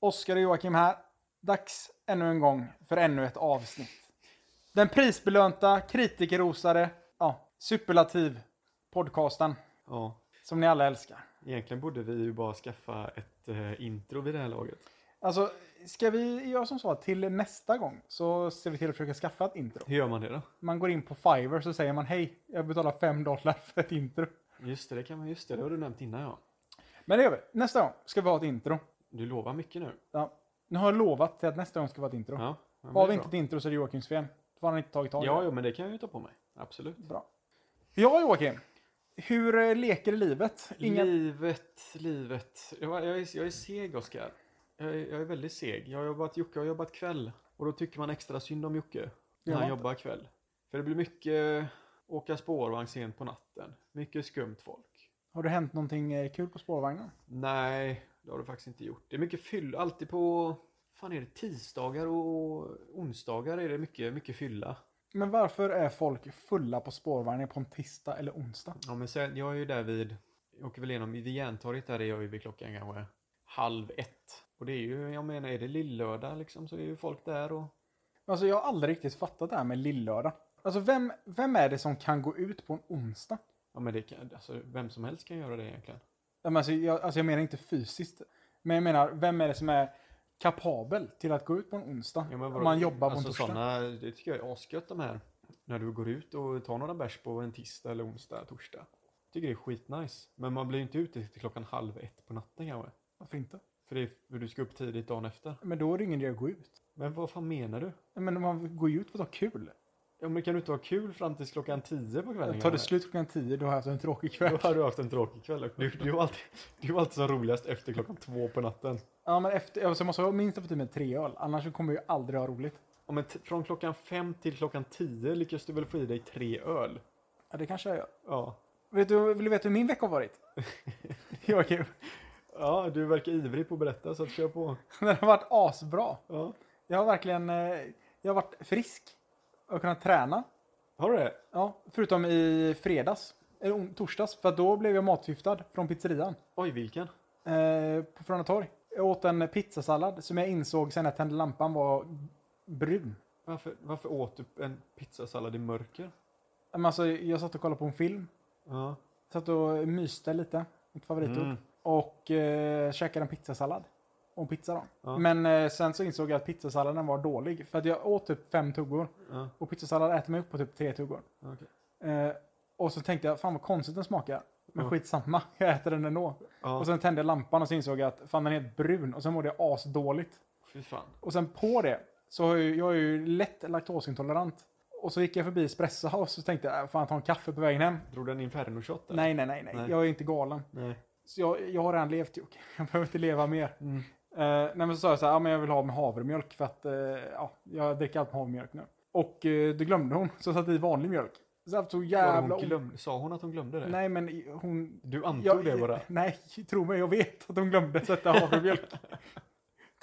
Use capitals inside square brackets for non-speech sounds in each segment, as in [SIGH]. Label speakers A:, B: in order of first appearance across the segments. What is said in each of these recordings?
A: Oskar och Joakim här. Dags ännu en gång för ännu ett avsnitt. Den prisbelönta, kritikerrosade, ja, superlativ podcasten
B: Ja,
A: som ni alla älskar.
B: egentligen borde vi ju bara skaffa ett eh, intro vid det här laget.
A: Alltså, ska vi göra som så att till nästa gång så ser vi till att försöka skaffa ett intro.
B: Hur gör man det då?
A: Man går in på Fiverr så säger man hej, jag betalar 5 dollar [LAUGHS] för ett intro.
B: Just det, det kan man just det. Det har du nämnt innan ja.
A: Men det gör vi. Nästa gång ska vi ha ett intro.
B: Du lovar mycket nu.
A: Ja, nu har jag lovat till att nästa gång ska vara ett intro.
B: Ja, ja men
A: Har
B: det
A: vi
B: är
A: inte ett
B: bra.
A: intro så är det Joakims fel. Då har han inte tagit tag i
B: Ja,
A: det.
B: ja, men det kan jag ju ta på mig. Absolut.
A: Bra. Ja, Joakim. Hur eh, leker livet? Inga...
B: Livet, livet. Jag, var- jag, är, jag är seg, Oskar. Jag, är- jag är väldigt seg. Jag har jobbat, Jocke har jobbat kväll. Och då tycker man extra synd om Jocke. När
A: man
B: han
A: inte.
B: jobbar kväll. För det blir mycket åka spårvagn sent på natten. Mycket skumt folk.
A: Har det hänt någonting eh, kul på spårvagnen?
B: Nej, det har du faktiskt inte gjort. Det är mycket fyll, alltid på... fan är det tisdagar och onsdagar är det mycket, mycket fylla.
A: Men varför är folk fulla på spårvagnen på en tisdag eller onsdag?
B: Ja, men sen, jag är ju där vid... Jag åker väl igenom vid Järntorget där är jag ju vid klockan kanske halv ett. Och det är ju, jag menar, är det lillördag liksom så är ju folk där och...
A: Alltså, jag har aldrig riktigt fattat det här med lillördag. Alltså, vem, vem är det som kan gå ut på en onsdag?
B: Ja, men det kan, alltså, vem som helst kan göra det egentligen.
A: Ja, men Alltså, jag, alltså, jag menar inte fysiskt. Men jag menar, vem är det som är kapabel till att gå ut på en onsdag?
B: Ja, men vadå?
A: om man jobbar på
B: alltså,
A: en torsdag.
B: Såna, det tycker jag är asgött de här. När du går ut och tar några bärs på en tisdag eller onsdag, torsdag. Jag tycker det är skitnice. Men man blir ju inte ute till klockan halv ett på natten kanske.
A: Varför inte?
B: För det är, för du ska upp tidigt dagen efter.
A: Men då är det ingen idé att gå ut.
B: Men vad fan menar du?
A: Men man går ju ut för att ha kul.
B: Ja, men kan du inte ha kul fram till klockan tio på kvällen?
A: Tar det
B: kanske?
A: slut klockan 10 då har jag haft en tråkig
B: Då
A: kväll.
B: har du haft en tråkig kväll. Du, du, är alltid, du är alltid som roligast efter klockan två på natten.
A: Ja, men efter, alltså, jag måste ha minst ha fått i mig tre öl, annars så kommer jag ju aldrig ha roligt.
B: Ja, men t- från klockan fem till klockan tio lyckas du väl få i dig tre öl?
A: Ja, det kanske jag gör.
B: Ja.
A: Vet du, vill du veta hur min vecka har varit? [LAUGHS] Joakim,
B: Ja, du verkar ivrig på att berätta så att kör på.
A: den har varit asbra.
B: Ja.
A: Jag har verkligen eh, jag har varit frisk och kunnat träna.
B: Har du det?
A: Ja, förutom i fredags, eller on- torsdags, för att då blev jag matförgiftad från pizzerian
B: Oj, vilken?
A: eh, på Frölunda torg. Jag åt en pizzasallad som jag insåg sen jag tände lampan var brun.
B: Varför, varför åt du en pizzasallad i mörker?
A: Men alltså, jag satt och kollade på en film
B: Ja.
A: Satt och myste lite, mitt favoritord.
B: Mm.
A: Och eh, käkade en pizzasallad. Och en pizza då.
B: Ja.
A: Men eh, sen så insåg jag att pizzasalladen var dålig. För att jag åt typ fem tuggor.
B: ja
A: Och pizzasallad äter man upp på typ tre tuggor.
B: okej.
A: Eh, och så tänkte jag, fan vad konstigt den smakar. Men
B: Ja.
A: skitsamma, [LAUGHS] jag äter den ändå.
B: Ja,
A: Och sen tände jag lampan och så insåg jag att fan den är helt brun. Och sen mådde jag asdåligt.
B: fy fan.
A: Och sen på det så har jag, jag är ju lätt laktosintolerant. Och så gick jag förbi Espresso House och tänkte, äh, fan ta en kaffe på vägen hem.
B: Drog du en inferno-shot där?
A: Nej, nej, nej, nej,
B: Nej.
A: jag är inte galen.
B: Nej.
A: Så jag, jag har redan levt Jocke. [LAUGHS] Jag behöver inte leva mer.
B: Mm.
A: Eh, nej, men så sa jag så här, ja, men jag vill ha med havremjölk för att eh, ja, jag dricker allt med havremjölk nu. Och eh, det glömde hon, så jag satte i vanlig mjölk. Så jag tog
B: Var det
A: jävla...
B: hon glömde, sa hon att hon glömde det?
A: Nej men i- hon...
B: Du antog
A: jag-
B: det bara?
A: [LAUGHS] Nej, tro mig, jag vet att hon glömde sätta havremjölk. [LAUGHS]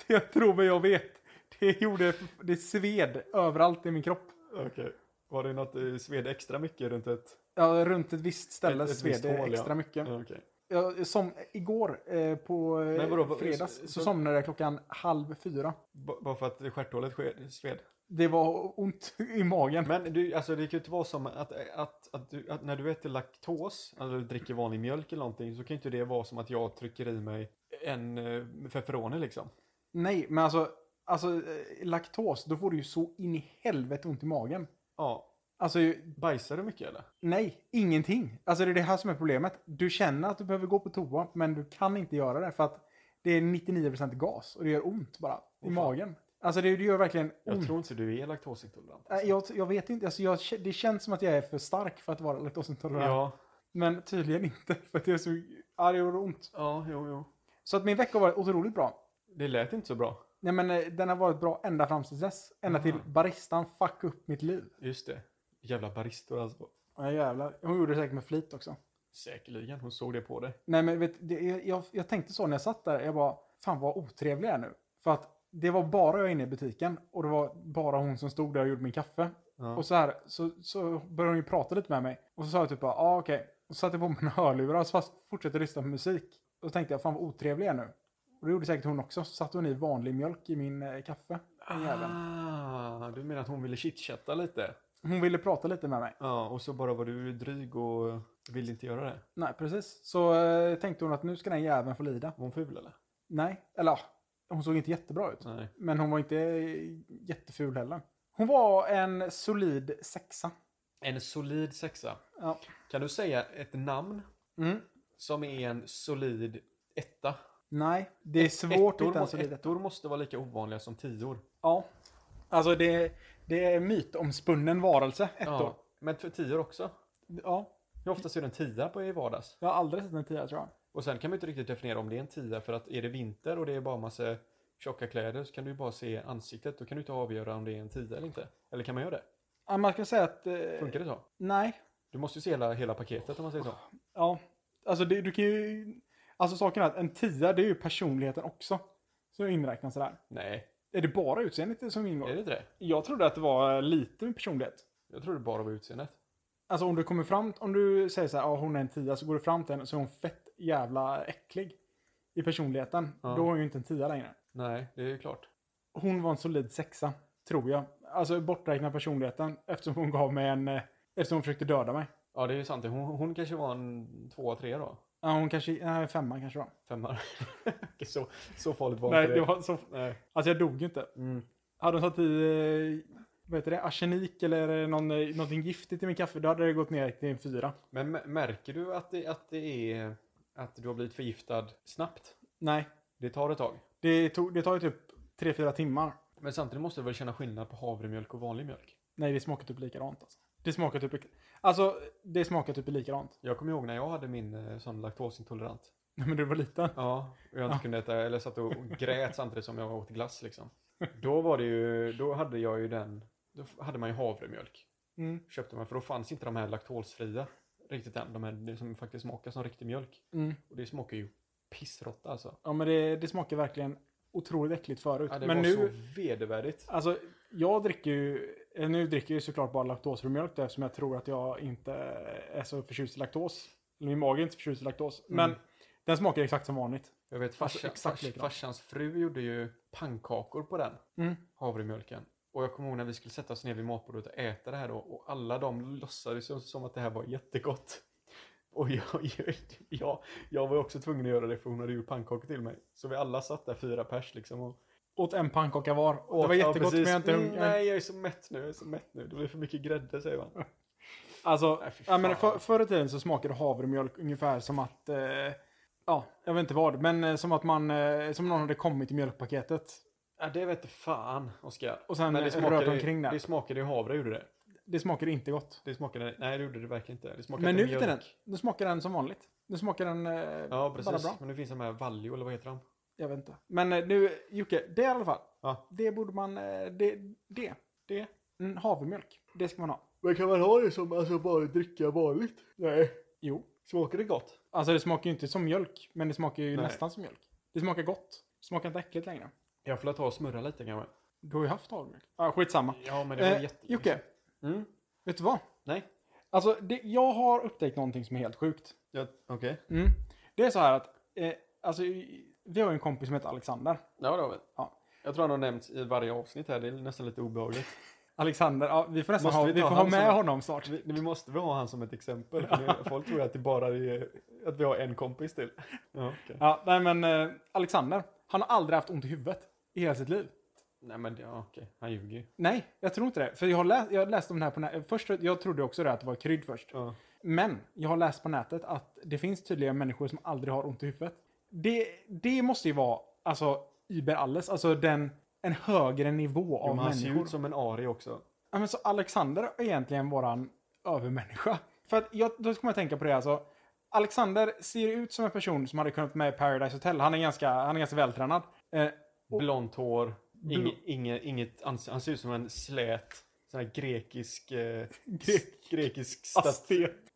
A: jag tror mig, jag vet. Det gjorde... Det sved överallt i min kropp.
B: Okej. Var det något eh, sved extra mycket runt ett...
A: Ja, runt ett visst ställe
B: Ett- ett
A: sved
B: visst
A: det
B: hål, ja.
A: extra mycket.
B: Ja, okej.
A: Jag, som, igår eh, på eh,
B: Nej, vadå, vad-
A: fredags så,
B: så- så-
A: somnade jag klockan halv fyra.
B: B- bara för att stjärthålet sked- sved?
A: Det var ont i magen.
B: Men du, alltså det kan ju inte vara som att, att, att, du, att när du äter laktos, eller du dricker vanlig mjölk eller någonting, så kan ju inte det vara som att jag trycker i mig en eh, feferoni liksom.
A: Nej, men alltså, alltså eh, laktos, då får du ju så in i helvete ont i magen.
B: Ja.
A: Alltså, ju-
B: Bajsar du mycket eller?
A: nej, ingenting. Alltså det är det här som är problemet. Du känner att du behöver gå på toa, men du kan inte göra det för att det är 99% gas och det gör ont bara i
B: fan.
A: magen. Alltså det, det gör verkligen
B: Jag
A: ont.
B: tror inte du är laktosintolerant.
A: Äh, Jag, jag vet inte, alltså jag, det känns som att jag är för stark för att vara laktosintolerant.
B: Ja,
A: Men tydligen inte, för att jag är så arg och ont.
B: ja, jo, jo.
A: Så att min vecka har varit otroligt bra.
B: Det lät inte så bra.
A: Nej men eh, den har varit bra ända fram till dess. Ända
B: Aha.
A: till baristan fuck upp mitt liv.
B: Just det. Jävla baristor alltså.
A: Ja jävlar. Hon gjorde det säkert med flit också.
B: Säkerligen, hon såg det på dig.
A: Nej men vet, det, jag, jag tänkte så när jag satt där. Jag bara, fan vad otrevlig jag är nu. För att det var bara jag inne i butiken och det var bara hon som stod där och gjorde min kaffe.
B: Ja.
A: Och så här, så, så började hon ju prata lite med mig. Och så sa jag typ bara, ja [LAUGHS] ah, okej. Och så satte jag på mina hörlurar och så fast- fortsatte lyssna på musik. Och så tänkte jag, fan vad otrevlig jag är nu. Och det gjorde säkert hon också. Så satte hon i vanlig mjölk i min eh, kaffe. Den jäveln.
B: Ah, du menar att hon ville chitchatta lite?
A: Hon ville prata lite med mig.
B: Ja, och så bara var du dryg och ville inte göra det.
A: Nej, precis. Så eh, tänkte hon att nu ska den jäveln få lida.
B: Var hon ful eller?
A: Nej, eller ja, hon såg inte jättebra ut.
B: Nej.
A: Men hon var inte eh, jätteful heller. Hon var en solid sexa.
B: En solid sexa.
A: Ja.
B: Kan du säga ett namn
A: Mm.
B: som är en solid etta?
A: Nej, det är svårt att
B: ettor,
A: hitta en
B: må-
A: solid etta.
B: ettor måste vara lika ovanliga som tior.
A: Ja. Alltså det, det är mytomspunnen varelse, ettor.
B: Ja,
A: Ja.
B: men för tior också.
A: ja.
B: Hur ofta ser du en tia på i vardags?
A: Jag har aldrig sett en tia tror jag.
B: Och sen kan man ju inte riktigt definiera om det är en tia för att är det vinter och det är bara massa tjocka kläder så kan du ju bara se ansiktet. Då kan du inte avgöra om det är en tia eller inte. Eller kan man göra det?
A: Ja, man ska säga att... Eh,
B: Funkar det så?
A: Nej.
B: Du måste ju se hela, hela paketet om man säger så.
A: Ah. Ja. Alltså det, du kan ju... Alltså saken är att en tia, det är ju personligheten också. Så inräknas det där.
B: Nej,
A: Är det bara utseendet som ingår?
B: är det inte det?
A: Jag trodde att det var lite med personlighet.
B: Jag tror det bara var utseendet.
A: Alltså om du kommer fram, om du säger så här, ah, hon är en tia, så går du fram till henne så är hon fett jävla äcklig i personligheten.
B: Ja.
A: Då är hon ju inte en tia längre.
B: Nej, det är ju klart.
A: Hon var en solid sexa, tror jag. Alltså borträkna personligheten eftersom hon gav mig en... eh, Eftersom hon försökte döda mig.
B: Ja, det är ju sant. Hon, hon kanske var en tvåa, trea då?
A: Ja, hon kanske... Nej, femman kanske då.
B: Femma. Okej, [LAUGHS] så, så farligt var
A: Nej,
B: inte
A: det var så...
B: Nej.
A: Alltså jag dog ju inte.
B: Mm.
A: Hade hon satt i... eh, Vad heter det? Arsenik eller någon, eh, någonting giftigt i min kaffe, då hade det gått ner till en fyra.
B: Men mä- märker du att det, att det är att du har blivit förgiftad snabbt?
A: Nej,
B: Det tar ett tag.
A: det, tog, det tar ju typ tre fyra timmar.
B: Men samtidigt måste du väl känna skillnad på havremjölk och vanlig mjölk?
A: Nej, det smakar typ likadant. Alltså. Det smakar typ... Alltså, det smakar typ likadant. [LAUGHS]
B: Jag kommer ihåg när jag hade min eh, sån laktosintolerant.
A: Nej, men du var liten.
B: Ja, och jag inte
A: Ja.
B: kunde äta, eller satt och grät samtidigt som jag åt glass liksom. Då var det ju, då hade jag ju den, då f- hade man ju havremjölk.
A: Mm.
B: Köpte man, för då fanns inte de här laktosfria riktigt än. De här som faktiskt smakar som riktig mjölk.
A: Mm.
B: Och det smakar ju pissrotta alltså.
A: Ja, men det, det smakar verkligen otroligt äckligt förut.
B: Ja, det
A: men
B: var
A: nu...
B: så vedervärdigt.
A: Alltså, jag dricker ju... eh, Nu dricker jag ju såklart bara laktosfri mjölk då, eftersom jag tror att jag inte är så förtjust i laktos. Eller min mage är inte förtjust i laktos. Men
B: Mm.
A: den smakar exakt som vanligt.
B: Jag vet farsan,
A: exakt
B: fars,
A: likadant.
B: farsans fru gjorde ju pannkakor på den
A: Mm.
B: havremjölken. Och jag kommer ihåg när vi skulle sätta oss ner vid matbordet och äta det här då och alla de låtsades ju som att det här var jättegott. Och jag, [LAUGHS] jag, jag, jag var ju också tvungen att göra det för hon hade gjort pannkakor till mig. Så vi alla satt där, fyra pers liksom. Och,
A: Åt en pannkaka var. Och det var
B: Ja,
A: jättegott, men
B: precis.
A: jag är inte
B: Mm,
A: hungrig.
B: Nej, jag är så mätt nu, jag är så mätt nu. Det blir för mycket grädde säger man.
A: Alltså,
B: Nej, fy
A: ja, men
B: fan.
A: för, förr i tiden så smakade havremjölk ungefär som att, eh, ja, jag vet inte vad, men eh, som att man, eh, som någon hade kommit i mjölkpaketet.
B: Ja, det vet fan, Oskar.
A: Och sen
B: Men
A: eh,
B: det
A: rört
B: smakade,
A: omkring
B: ju-
A: där.
B: det
A: Det,
B: smakade ju havre, gjorde det.
A: smakade inte gott.
B: Det smakade, nej det gjorde det verkligen inte. Det smakade
A: Men nu
B: inte
A: för
B: mjölk.
A: den, nu smakar den som vanligt. Nu smakar den eh,
B: Ja,
A: bara
B: precis.
A: bra.
B: Men nu finns de här Valjo, eller vad heter de?
A: Jag vet inte. Men eh, nu, Jocke, det i alla fall.
B: Ja.
A: Det borde man, eh, det, det.
B: Det.
A: Mm, havremjölk, det ska man ha.
B: Men kan man ha det som alltså bara dricka vanligt? Nej.
A: Jo.
B: Smakar det gott?
A: Alltså det smakar ju inte som mjölk, men det smakar ju
B: Nej.
A: nästan som mjölk. Det smakar gott. Det smakar inte äckligt längre.
B: Jag får ta och smurra lite kanske.
A: Du har ju haft havremjölk. Ja, skitsamma.
B: Ja, men det var
A: Eh,
B: jätte...
A: Jocke,
B: Mm?
A: vet du vad?
B: Nej.
A: Alltså, det, jag har upptäckt någonting som är helt sjukt.
B: Ja, Okej.
A: Mm. Det är så här att, eh, alltså, i- vi har ju en kompis som heter Alexander.
B: Ja, det har vi.
A: Ja.
B: Jag tror han har nämnts i varje avsnitt här. Det är nästan lite obehagligt.
A: Alexander, ja, vi får nästan
B: Måste
A: ha,
B: vi
A: vi
B: ta
A: får ha
B: han
A: med
B: som-
A: honom snart.
B: Vi, vi måste väl ha han som ett exempel. för nu- Folk tror att det bara är att vi har en kompis till. Ja, okej.
A: Ja, nej men eh, Alexander, han har aldrig haft ont i huvudet i hela sitt liv.
B: Nej, men det- ja, okej. Han ljuger ju.
A: Nej, jag tror inte det. För jag har läst, jag läste om det här på nätet. Först, jag trodde också det att det var krydd först.
B: Ja.
A: Men jag har läst på nätet att det finns tydligen människor som aldrig har ont i huvudet. Det, det måste ju vara, alltså, über alles. Alltså den, en högre nivå av
B: Jo, men han ser
A: människor.
B: ut som en ari också.
A: Ja, men så Alexander är egentligen våran övermänniska. För att jag, då kommer jag tänka på det alltså. Alexander ser ut som en person som hade kunnat vara med i Paradise Hotel. Han är ganska, han är ganska vältränad. Eh,
B: Blont hår. Inge,
A: Bl-
B: inge, inget, han, han ser ut som en slät sån här grekisk... Eh,
A: Grek-
B: grekisk stat...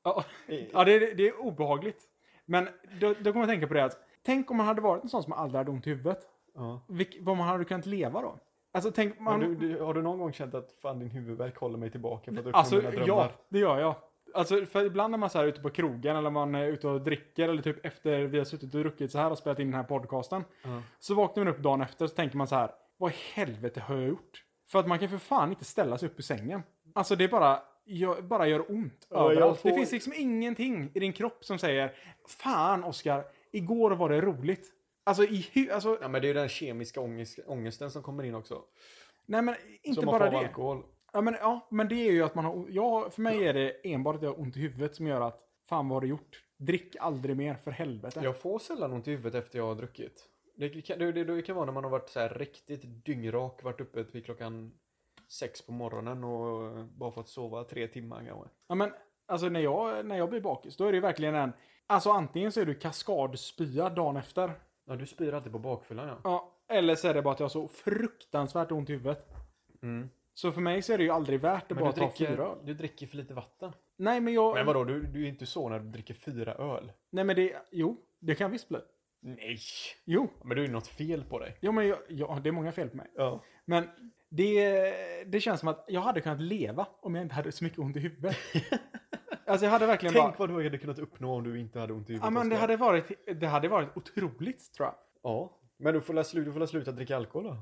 A: ja,
B: eh,
A: [LAUGHS] ja, det, är- det är obehagligt. Men då, då kommer jag tänka på det att tänk om man hade varit en sån som aldrig hade ont i huvudet.
B: Ja.
A: Vilk, vad man hade kunnat leva då? Alltså tänk,
B: Men
A: man,
B: du, du, har du någon gång känt att fan din huvudvärk håller mig tillbaka för att uppnå
A: alltså
B: mina drömmar?
A: ja, det gör jag. Alltså för ibland när man så här är ute på krogen eller man är ute och dricker eller typ efter vi har suttit och druckit så här och spelat in den här podcasten.
B: Ja.
A: Så vaknar man upp dagen efter så tänker man så här. Vad i helvete har jag gjort? För att man kan för fan inte ställa sig upp ur sängen. Alltså det är bara, gör, bara gör ont
B: Ja, jag
A: överallt.
B: får-
A: Det finns liksom ingenting i din kropp som säger Fan Oskar, igår var det roligt. Alltså, i hu- alltså
B: ja, men det är ju den kemiska ångest, ångesten som kommer in också.
A: nej men inte
B: som man
A: bara
B: får av
A: det.
B: alkohol.
A: Ja men, ja, men det är ju att man har... Ja, för mig är det enbart att jag har ont i huvudet som gör att fan vad har du gjort? Drick aldrig mer för helvete.
B: Jag får sällan ont i huvudet efter jag har druckit. Det kan, det, det, det kan vara när man har varit så här riktigt dyngrak, varit uppe till klockan sex på morgonen och bara fått sova tre timmar kanske.
A: Ja, men alltså när jag, när jag blir bakis, då är det ju verkligen en... Alltså antingen så är du kaskadspya dagen efter.
B: Ja, du spyr alltid på bakfyllan ja.
A: Ja, eller så är det bara att jag har så fruktansvärt ont i huvudet.
B: Mm.
A: Så för mig så är det ju aldrig värt att
B: Men du
A: bara ta fyra
B: dricker,
A: öl.
B: du dricker för lite vatten.
A: Nej men jag...
B: Men vadå, du, du är inte så när du dricker fyra öl?
A: Nej men det... Jo, det kan jag visst bli.
B: Nej!
A: Jo,
B: Men det är ju något fel på dig.
A: jo men jag, ja, det är många fel på mig.
B: Ja.
A: Men det, det känns som att jag hade kunnat leva om jag inte hade så mycket ont i
B: [LAUGHS]
A: huvudet. alltså jag hade verkligen
B: Tänk
A: bara...
B: vad du hade kunnat uppnå om du inte hade ont i huvudet.
A: Ja, men det,
B: Oskar.
A: hade varit, det hade varit otroligt tror jag.
B: ja. men du får, la slu, du får la sluta dricka alkohol då.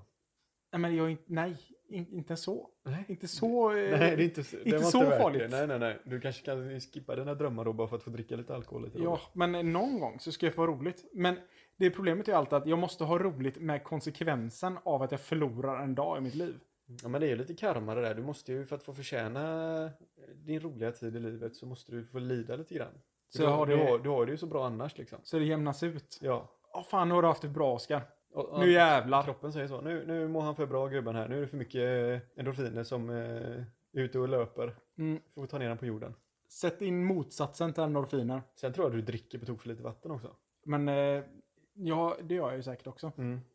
A: Nej, men jag, är inte- nej in, inte så.
B: Nej.
A: Inte så... eh,
B: Nej, det är inte, så- det
A: inte
B: var
A: så
B: inte värt
A: farligt.
B: Det. Nej, nej, nej. Du kanske kan skippa dina drömmar då bara för att få dricka lite alkohol lite.
A: Ja,
B: då.
A: men någon gång så ska jag få roligt. Men det problemet är ju alltid att jag måste ha roligt med konsekvensen av att jag förlorar en dag i mitt liv.
B: ja, men det är ju lite karma det där. Du måste ju för att få förtjäna din roliga tid i livet så måste du få lida lite grann.
A: Så
B: du,
A: jag har
B: du,
A: det-
B: har, du har det ju så bra annars liksom.
A: Så det jämnas ut.
B: Ja.
A: Åh fan, nu har du haft det bra Oskar.
B: Och- och-
A: Nu jävlar.
B: Kroppen säger så. Nu, nu mår han för bra gubben här. Nu är det för mycket eh, endorfiner som eh, är ute och löper.
A: Mm,
B: Får ta ner den på jorden.
A: sätt in motsatsen till endorfiner.
B: Sen tror jag du dricker på tok för lite vatten också.
A: Men eh, ja, det gör jag ju säkert också.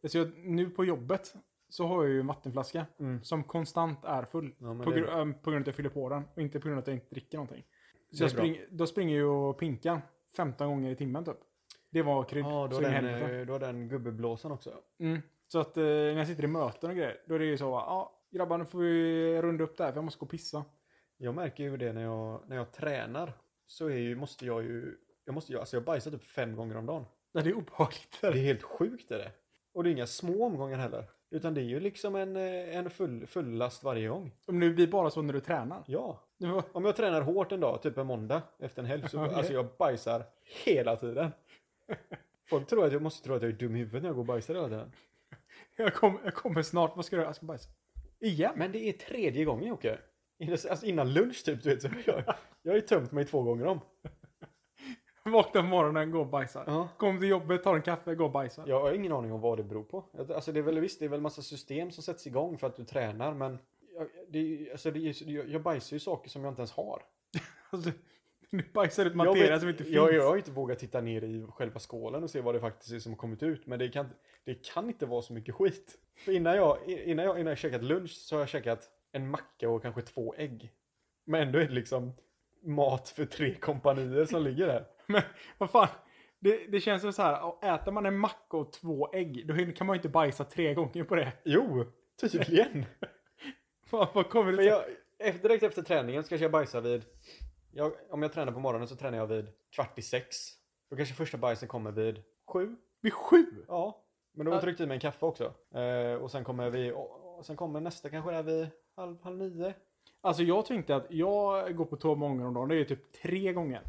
A: Så jag, nu på jobbet så har jag ju en vattenflaska
B: Mm.
A: som konstant är full.
B: Ja, men
A: på,
B: det är
A: gru-
B: bra.
A: äm, på grund av att jag fyller på den och inte på grund av att jag inte dricker någonting.
B: Det
A: Så jag
B: är bra.
A: spring, då springer jag ju och pinkar 15 gånger i timmen typ. Det var krydd.
B: Ja, du
A: så
B: har,
A: in i
B: den,
A: helvete.
B: eh, du har den gubbeblåsan också.
A: Mm. Så att eh, när jag sitter i möten och grejer, då är det ju så va, ja grabbar nu får vi runda upp där för jag måste gå och pissa.
B: Jag märker ju det när jag, när jag tränar. Så är ju, måste jag ju... Jag, måste, ju- alltså jag bajsar typ fem gånger om dagen.
A: Nej, det är obehagligt.
B: Det är helt sjukt är det. Och det är inga små omgångar heller. Utan det är ju liksom en, eh, en full, full last varje gång.
A: Om det blir bara så när du tränar.
B: Ja.
A: Det var-
B: Om jag tränar hårt en dag, typ en måndag efter en helg, så
A: Okej.
B: alltså jag bajsar hela tiden. Folk tror att jag måste tro att jag är dum i huvudet när jag går och bajsar hela tiden.
A: Jag, kom, jag kommer snart, vad ska du göra? Jag ska bajsa. Igen?
B: Men det är tredje gången Jocke. Innan- Alltså innan lunch typ, du vet. Så jag, jag har ju tömt mig två gånger om.
A: Vaknar på morgonen, går och bajsar.
B: Ja.
A: Kommer till jobbet, tar en kaffe, går och bajsar.
B: Jag har ingen aning om vad det beror på. Alltså det är väl visst, det är väl massa system som sätts igång för att du tränar, men jag, det är, ju- alltså det är, ju- jag, jag bajsar ju saker som jag inte ens har.
A: Alltså, [LAUGHS] nu bajsar ut
B: Jag,
A: materia
B: vet-
A: som inte finns.
B: jag, jag har ju inte vågat titta ner i själva skålen och se vad det faktiskt är som har kommit ut. Men det kan, det kan inte vara så mycket skit. För innan jag, innan, jag, innan jag käkat lunch så har jag käkat en macka och kanske två ägg. Men ändå är det liksom mat för tre kompanier som ligger där.
A: [LAUGHS] Men vad fan, det, det känns som så här, och äter man en macka och två ägg, då hin- kan man ju inte bajsa tre gånger på det. [LAUGHS]
B: Jo, tydligen.
A: Vad, vad kommer det
B: Men
A: till?
B: jag, efter, direkt efter träningen så kanske jag bajsar vid... Jag, om jag tränar på morgonen så tränar jag vid kvart i sex. Då kanske första bajsen kommer vid sju.
A: Vid sju?
B: Ja, men då har jag tryckt i mig en kaffe också. Eh, och sen kommer vi, och och sen kommer nästa kanske där vid halv, halv nio.
A: Alltså jag tänkte att jag går på tå många gånger om dagen, det är ju typ tre gånger.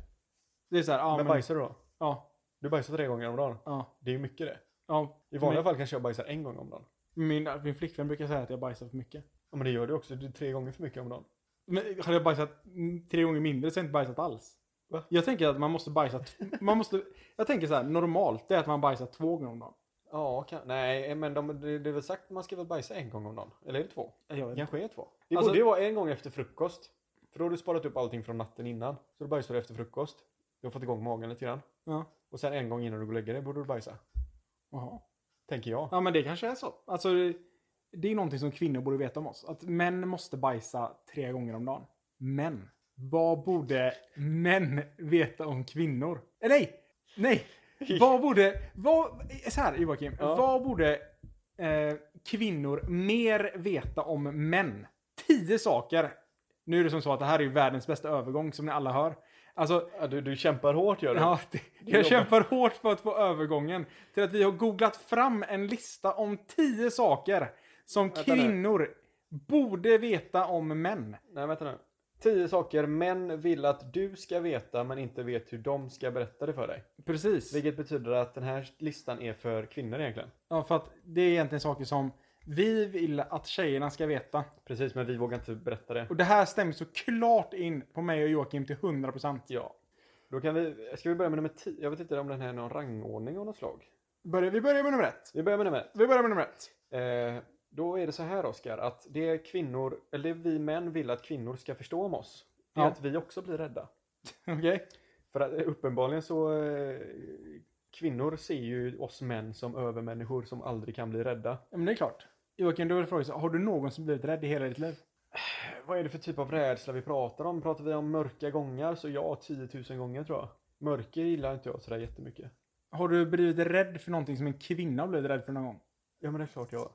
A: Det är så här, ja
B: men,
A: men...
B: bajsar du då?
A: Ja,
B: Du bajsar tre gånger om dagen.
A: ja,
B: Det är ju mycket det.
A: ja.
B: I vanliga fall kanske jag bajsar en gång om dagen.
A: min, min, min flickvän brukar säga att jag bajsar för mycket.
B: Ja, men det gör du också. Det är tre gånger för mycket om dagen.
A: Men hade jag bajsat mm, tre gånger mindre så hade jag inte bajsat alls.
B: Va?
A: Jag tänker att man måste bajsa... t- Man måste, jag tänker så här, normalt det är att man bajsar två gånger om dagen.
B: Ja, kan, nej, men de, det, det är väl sagt att man ska väl bajsa en gång om dagen. Eller är det två?
A: Jag vet
B: Det
A: inte.
B: kanske är två. Det
A: Alltså-
B: borde ju vara en gång efter frukost. För då har du sparat upp allting från natten innan. Så du bajsar efter frukost. Du har fått igång magen lite grann.
A: Ja.
B: Och sen en gång innan du går och lägger dig borde du bajsa.
A: Jaha.
B: Tänker jag.
A: Ja, men det kanske är så. Alltså, det är någonting som kvinnor borde veta om oss. Att män måste bajsa tre gånger om dagen. Men, vad borde män veta om kvinnor? Eh, nej! Nej! Vad borde... Vad, så här, Joakim.
B: Ja.
A: Vad borde eh, kvinnor mer veta om män? Tio saker Nu är det som så att det här är ju världens bästa övergång som ni alla hör. Alltså,
B: Ja, du, du kämpar hårt gör du.
A: ja, det, jag
B: jobbar.
A: kämpar hårt för att få övergången till att vi har googlat fram en lista om tio saker som
B: Vänta nu.
A: kvinnor borde veta om män.
B: Nej, vänta nu. Tio saker män vill att du ska veta men inte vet hur de ska berätta det för dig.
A: Precis.
B: Vilket betyder att den här listan är för kvinnor egentligen.
A: Ja, för att det är egentligen saker som vi vill att tjejerna ska veta.
B: Precis, men vi vågar inte berätta det.
A: Och det här stämmer såklart in på mig och Joakim till 100%.
B: Ja. Då kan vi, ska vi börja med nummer 10? Jag vet inte om den här är någon rangordning av något slag.
A: Börjar, vi börjar med nummer ett.
B: Vi börjar med nummer ett.
A: Vi börjar med nummer ett.
B: Eh, då är det så här Oskar, att det kvinnor, eller det vi män vill att kvinnor ska förstå om oss, det är
A: Ja.
B: att vi också blir [LAUGHS] rädda.
A: Okej?
B: För att, eh, uppenbarligen så, eh, kvinnor ser ju oss män som övermänniskor som aldrig kan bli rädda. Eh,
A: Ja, men det är klart. Joakim, då vill jag fråga, så, har du någonsin blivit rädd i hela ditt liv?
B: Vad är det för typ av rädsla vi pratar om? Pratar vi om mörka gångar? Så ja, 10 000 gånger tror jag. Mörker gillar inte jag sådär jättemycket.
A: Har du blivit rädd för någonting som en kvinna har blivit rädd för någon gång? [LAUGHS]
B: Ja men det är klart jag.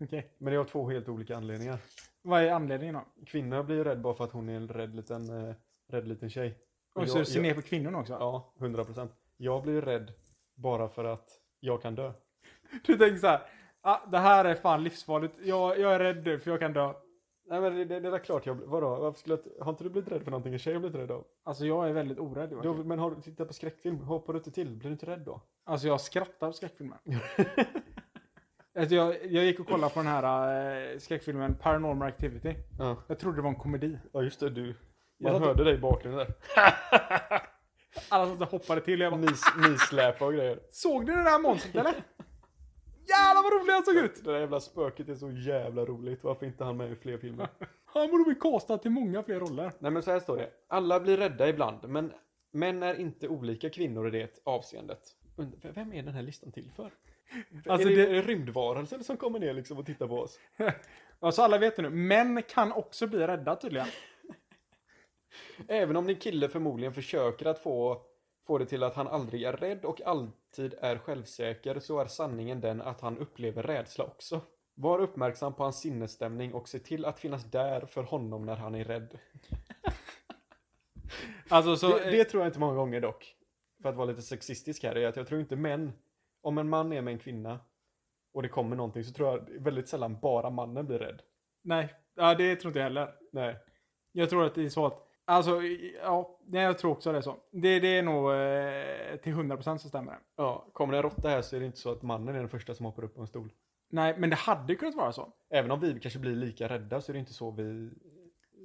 A: Okej.
B: Men det har två helt olika anledningar.
A: Vad är anledningen då?
B: Kvinnor blir ju rädd bara för att hon är en rädd liten, eh, rädd liten tjej.
A: Och så
B: jag-
A: ser
B: jag-
A: ner på kvinnorna också?
B: Ja, 100 procent. Jag blir ju rädd bara för att jag kan dö.
A: Du tänker så här, ah, det här är fan livsfarligt. Jag, jag är rädd nu för jag kan dö.
B: Nej men det, det, det är väl klart jag blir- vadå? Varför skulle jag, har inte du blivit rädd för någonting en tjej har blivit rädd av?
A: Alltså jag är väldigt orädd
B: Då,
A: Joakim.
B: men har du tittat på skräckfilm, hoppar du inte till, blir du inte rädd då?
A: Alltså jag skrattar åt [LAUGHS] skräckfilmer. Alltså jag, jag gick och kollade på den här eh, skräckfilmen Paranormal Activity.
B: ja.
A: Jag trodde det var en komedi.
B: ja just det, du.
A: Jag
B: Man
A: satt-
B: hörde dig i bakgrunden där.
A: Alla satt och hoppade till och jag bara,
B: Nis, nisläpa och grejer.
A: såg ni det där monstret eller? [LAUGHS] Jävlar vad rolig han såg ut!
B: Det där jävla spöket är så jävla roligt. Varför inte han med i fler filmer?
A: Han borde bli castad till många fler roller.
B: Nej men så här står det. Alla blir rädda ibland, men män är inte olika kvinnor i det avseendet. Und- Vem är den här listan till för? [LAUGHS]
A: Alltså,
B: är det,
A: det-
B: är det rymdvarelser som kommer ner liksom och tittar på oss?
A: Alltså alla vet det nu, män kan också bli rädda tydligen.
B: Även om din kille förmodligen försöker att få, få det till att han aldrig är rädd och alltid är självsäker så är sanningen den att han upplever rädsla också. Var uppmärksam på hans sinnesstämning och se till att finnas där för honom när han är rädd.
A: Alltså så...
B: det, det tror jag inte många gånger dock. För att vara lite sexistisk här, är att jag tror inte män, om en man är med en kvinna och det kommer någonting så tror jag väldigt sällan bara mannen blir rädd.
A: Nej, ja, det tror inte jag heller.
B: Nej.
A: Jag tror att det är så att... Alltså, ja, nej, jag tror också det är så. Det, det är nog eh, till 100% så stämmer det.
B: Ja, kommer det en råtta här så är det inte så att mannen är den första som hoppar upp på en stol.
A: Nej, men det hade kunnat vara så.
B: Även om vi kanske blir lika rädda så är det inte så vi...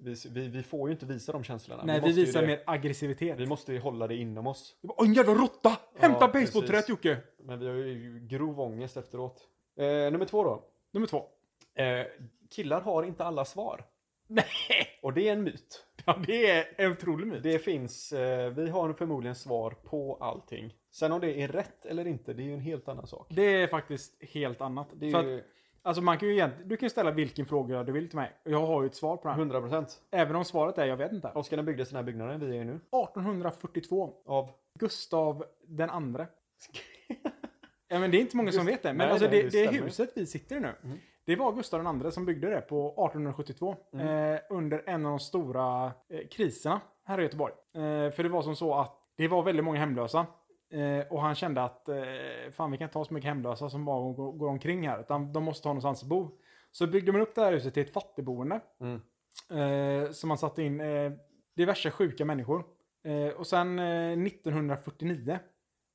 B: Vi, vi, vi får ju inte visa de känslorna.
A: nej, vi
B: måste ju
A: visar
B: det-
A: mer aggressivitet.
B: Vi måste ju hålla det inom oss.
A: Det var, Åh, en jävla råtta! Hämta
B: Ja,
A: basebollträt
B: precis.
A: Jocke!
B: Men vi har ju grov ångest efteråt. Eh, nummer två då.
A: Nummer två. [LAUGHS]
B: Eh, killar har inte alla svar.
A: Nej!
B: Och det är en myt.
A: Ja, det är en otrolig myt.
B: Det finns, eh, vi har förmodligen svar på allting. Sen om det är rätt eller inte, det är ju en helt annan sak.
A: Det är faktiskt helt annat.
B: Det är
A: För att,
B: ju
A: alltså, man kan ju egent- du kan ju ställa vilken fråga du vill till mig. Och jag har ju ett svar på den.
B: 100 procent.
A: Även om svaret är jag vet inte.
B: Oskar, när byggdes den här byggnaden vi är i nu?
A: 1842.
B: Av?
A: Gustav den andre. Ja, men det är inte många som
B: Gust-
A: vet det. Men
B: Nej,
A: alltså
B: nej,
A: det,
B: det
A: det,
B: stämmer.
A: huset vi sitter i nu.
B: Mm.
A: Det var Gustav den andre som byggde det på 1872.
B: Mm.
A: Eh, under en av de stora eh, kriserna här i Göteborg. Eh, för det var som så att det var väldigt många hemlösa. Eh, och han kände att eh, fan vi kan inte ha så mycket hemlösa som bara går, går omkring här. Utan de måste ha någonstans att bo. Så byggde man upp det här huset till ett fattigboende.
B: Mm.
A: Eh, så man satte in eh, diverse sjuka människor. Eh, och sen eh, 1949,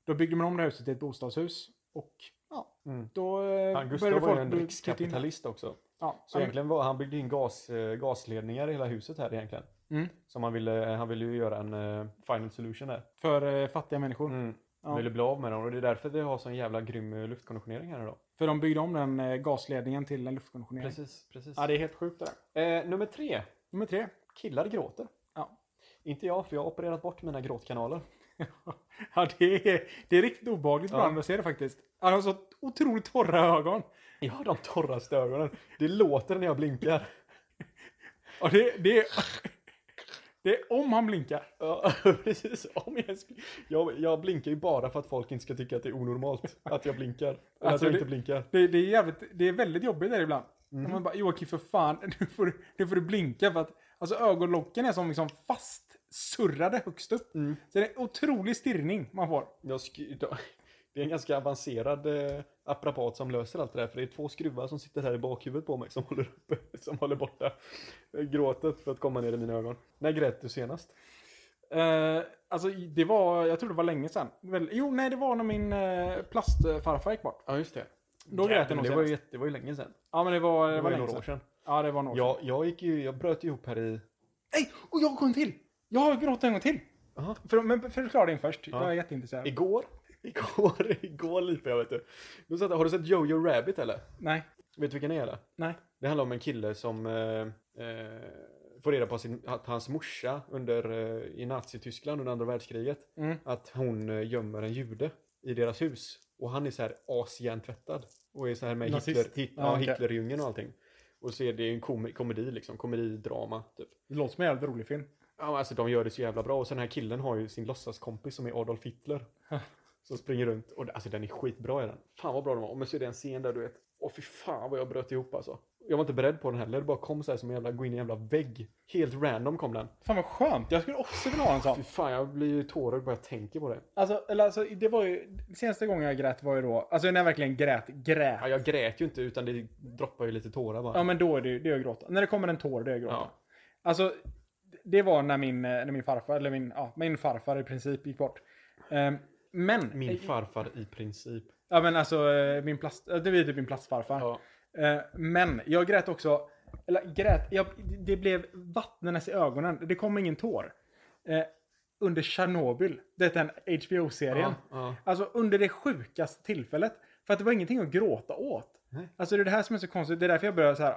A: då byggde man om det här huset till ett bostadshus. Och ja,
B: Mm.
A: då eh,
B: Han Gustav var ju en
A: bli- flytta in.
B: rikskapitalist också.
A: Ja,
B: Så egentligen var han byggde in gas, eh, gasledningar i hela huset här egentligen.
A: mm,
B: Som han ville, han ville ju göra en eh, final solution där.
A: för eh, fattiga människor.
B: Han
A: Ja.
B: ville bli av med dem och det är därför vi har sån jävla grym eh, luftkonditionering här idag.
A: För de byggde om den eh, gasledningen till en luftkonditionering.
B: Precis, precis.
A: Mm. Ja, det är helt sjukt det där.
B: Eh, nummer tre.
A: Nummer tre. [LAUGHS]
B: Killar gråter.
A: Ja.
B: Inte jag, för jag har opererat bort mina gråtkanaler.
A: Ja, det är, det är riktigt obehagligt
B: Ja.
A: ibland att se det faktiskt. Han har så otroligt torra ögon.
B: Jag har de torraste ögonen. Det låter när jag blinkar.
A: Och det, det, är, [LAUGHS] det är om han blinkar.
B: Ja, [LAUGHS] precis. Om jag, ens- jag, jag blinkar ju bara för att folk inte ska tycka att det är onormalt att jag blinkar. Eller att
A: Alltså,
B: jag
A: det-
B: inte blinkar.
A: Det, det, är [LAUGHS] jävligt, det är väldigt jobbigt där ibland. Och Man bara, Joakim för fan, nu får, du- nu får du blinka för att Alltså ögonlocken är som liksom fast surrade högst upp.
B: Mm.
A: Så det är en otrolig stirrning man får.
B: Jag sk- då- det är en ganska avancerad eh, apparat som löser allt det där. För det är två skruvar som sitter här i bakhuvudet på mig som [LAUGHS] håller, uppe, som håller borta eh, gråtet för att komma ner i mina ögon. När grät du senast?
A: Eh, alltså det var, jag tror det var länge sedan. Väl, jo, nej det var när min eh, plastfarfar gick bort.
B: Ja, just det.
A: Då grät jag nog
B: det var, ju,
A: senast.
B: jätte- det var ju länge sedan.
A: Ja men det var, det var,
B: ju
A: länge
B: några år
A: sedan.
B: sedan.
A: Ja det var några år sedan.
B: Jag, jag, gick ju, jag bröt ihop här i...
A: Nej! Och jag kom till! Jag har gråtit en gång till.
B: Aha.
A: För, men förklara din först.
B: Ja.
A: Jag är jätteintresserad.
B: Igår? [LAUGHS] Igår, igår lipade jag vet du. Då satt, jag- har du sett Jojo Rabbit eller?
A: nej,
B: Vet du vilken det är eller?
A: nej.
B: Det handlar om en kille som eh, eh, får reda på sin, att hans morsa under, eh, i Nazityskland under andra världskriget
A: Mm.
B: att hon eh, gömmer en jude i deras hus. Och han är så här ashjärntvättad. Och är så här med
A: Nazist.
B: Hitler, hit,
A: Ja,
B: ja,
A: okej.
B: Hitlerjungen och allting. Och så är det ju en kom, komedi liksom, komedidrama typ.
A: Det låter som en jävligt rolig film.
B: Ja, men alltså de gör det så jävla bra. Och sen den här killen har ju sin låtsaskompis som är Adolf
A: [LAUGHS]
B: Hitler. som springer runt. Och det- alltså den är skitbra är den. Fan vad bra den var. Och men så är det en scen där du vet. Åh fy fan vad jag bröt ihop alltså. Jag var inte beredd på den heller. Det bara kom så här som en jävla, gå in i en jävla vägg. Helt random kom den.
A: Fan vad skönt. Jag skulle också vilja ha en sån.
B: Fy fan jag blir ju tårögd bara jag tänker på det.
A: Alltså, eller alltså, det var ju... Senaste gången jag grät var ju då... Alltså när jag verkligen grät, grät.
B: Ja, jag grät ju inte utan det droppar ju lite tårar bara.
A: Ja, men då är det ju det är att gråta. När det kommer en tår, det är att gråta.
B: Ja.
A: Alltså, det var när min, eh, när min farfar, eller min, ja, min farfar i princip gick bort. Ehm, men,
B: Min farfar i princip.
A: ja men alltså, eh, min plast, eh, det var ju typ min plastfarfar.
B: Ja.
A: Eh, men jag grät också, eller grät, jag, det blev vattnenes i ögonen. Det kom ingen tår. Eh, under Tjernobyl, det är den HBO-serien.
B: Ja, ja.
A: Alltså under det sjukaste tillfället. För att det var ingenting att gråta åt.
B: Nej.
A: Alltså det är det här som är så konstigt. Det är därför jag börjar så här.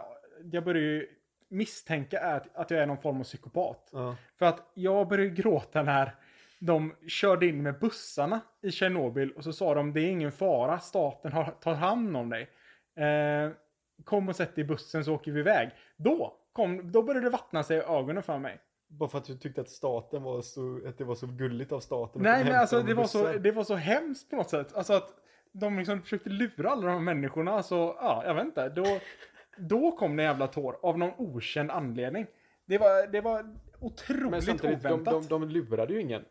A: Jag börjar ju misstänka att, att jag är någon form av psykopat.
B: Ja.
A: För att jag började gråta när de körde in med bussarna i Tjernobyl och så sa de det är ingen fara, staten har, tar hand om dig. Eh, kom och sätt dig i bussen så åker vi iväg. Då, kom, då började det vattna sig i ögonen för mig.
B: Bara för att du tyckte att staten var så, att det var så gulligt av staten. att
A: Nej,
B: hämta
A: men alltså
B: dem
A: det
B: med
A: var, så,
B: bussar.
A: det var så hemskt på något sätt. Alltså att de liksom försökte lura alla de här människorna. Så ja, jag vet inte. Då, då kom det en jävla tår av någon okänd anledning. Det var, det var
B: Men
A: otroligt
B: samtidigt, de,
A: oväntat.
B: de, de lurade ju ingen.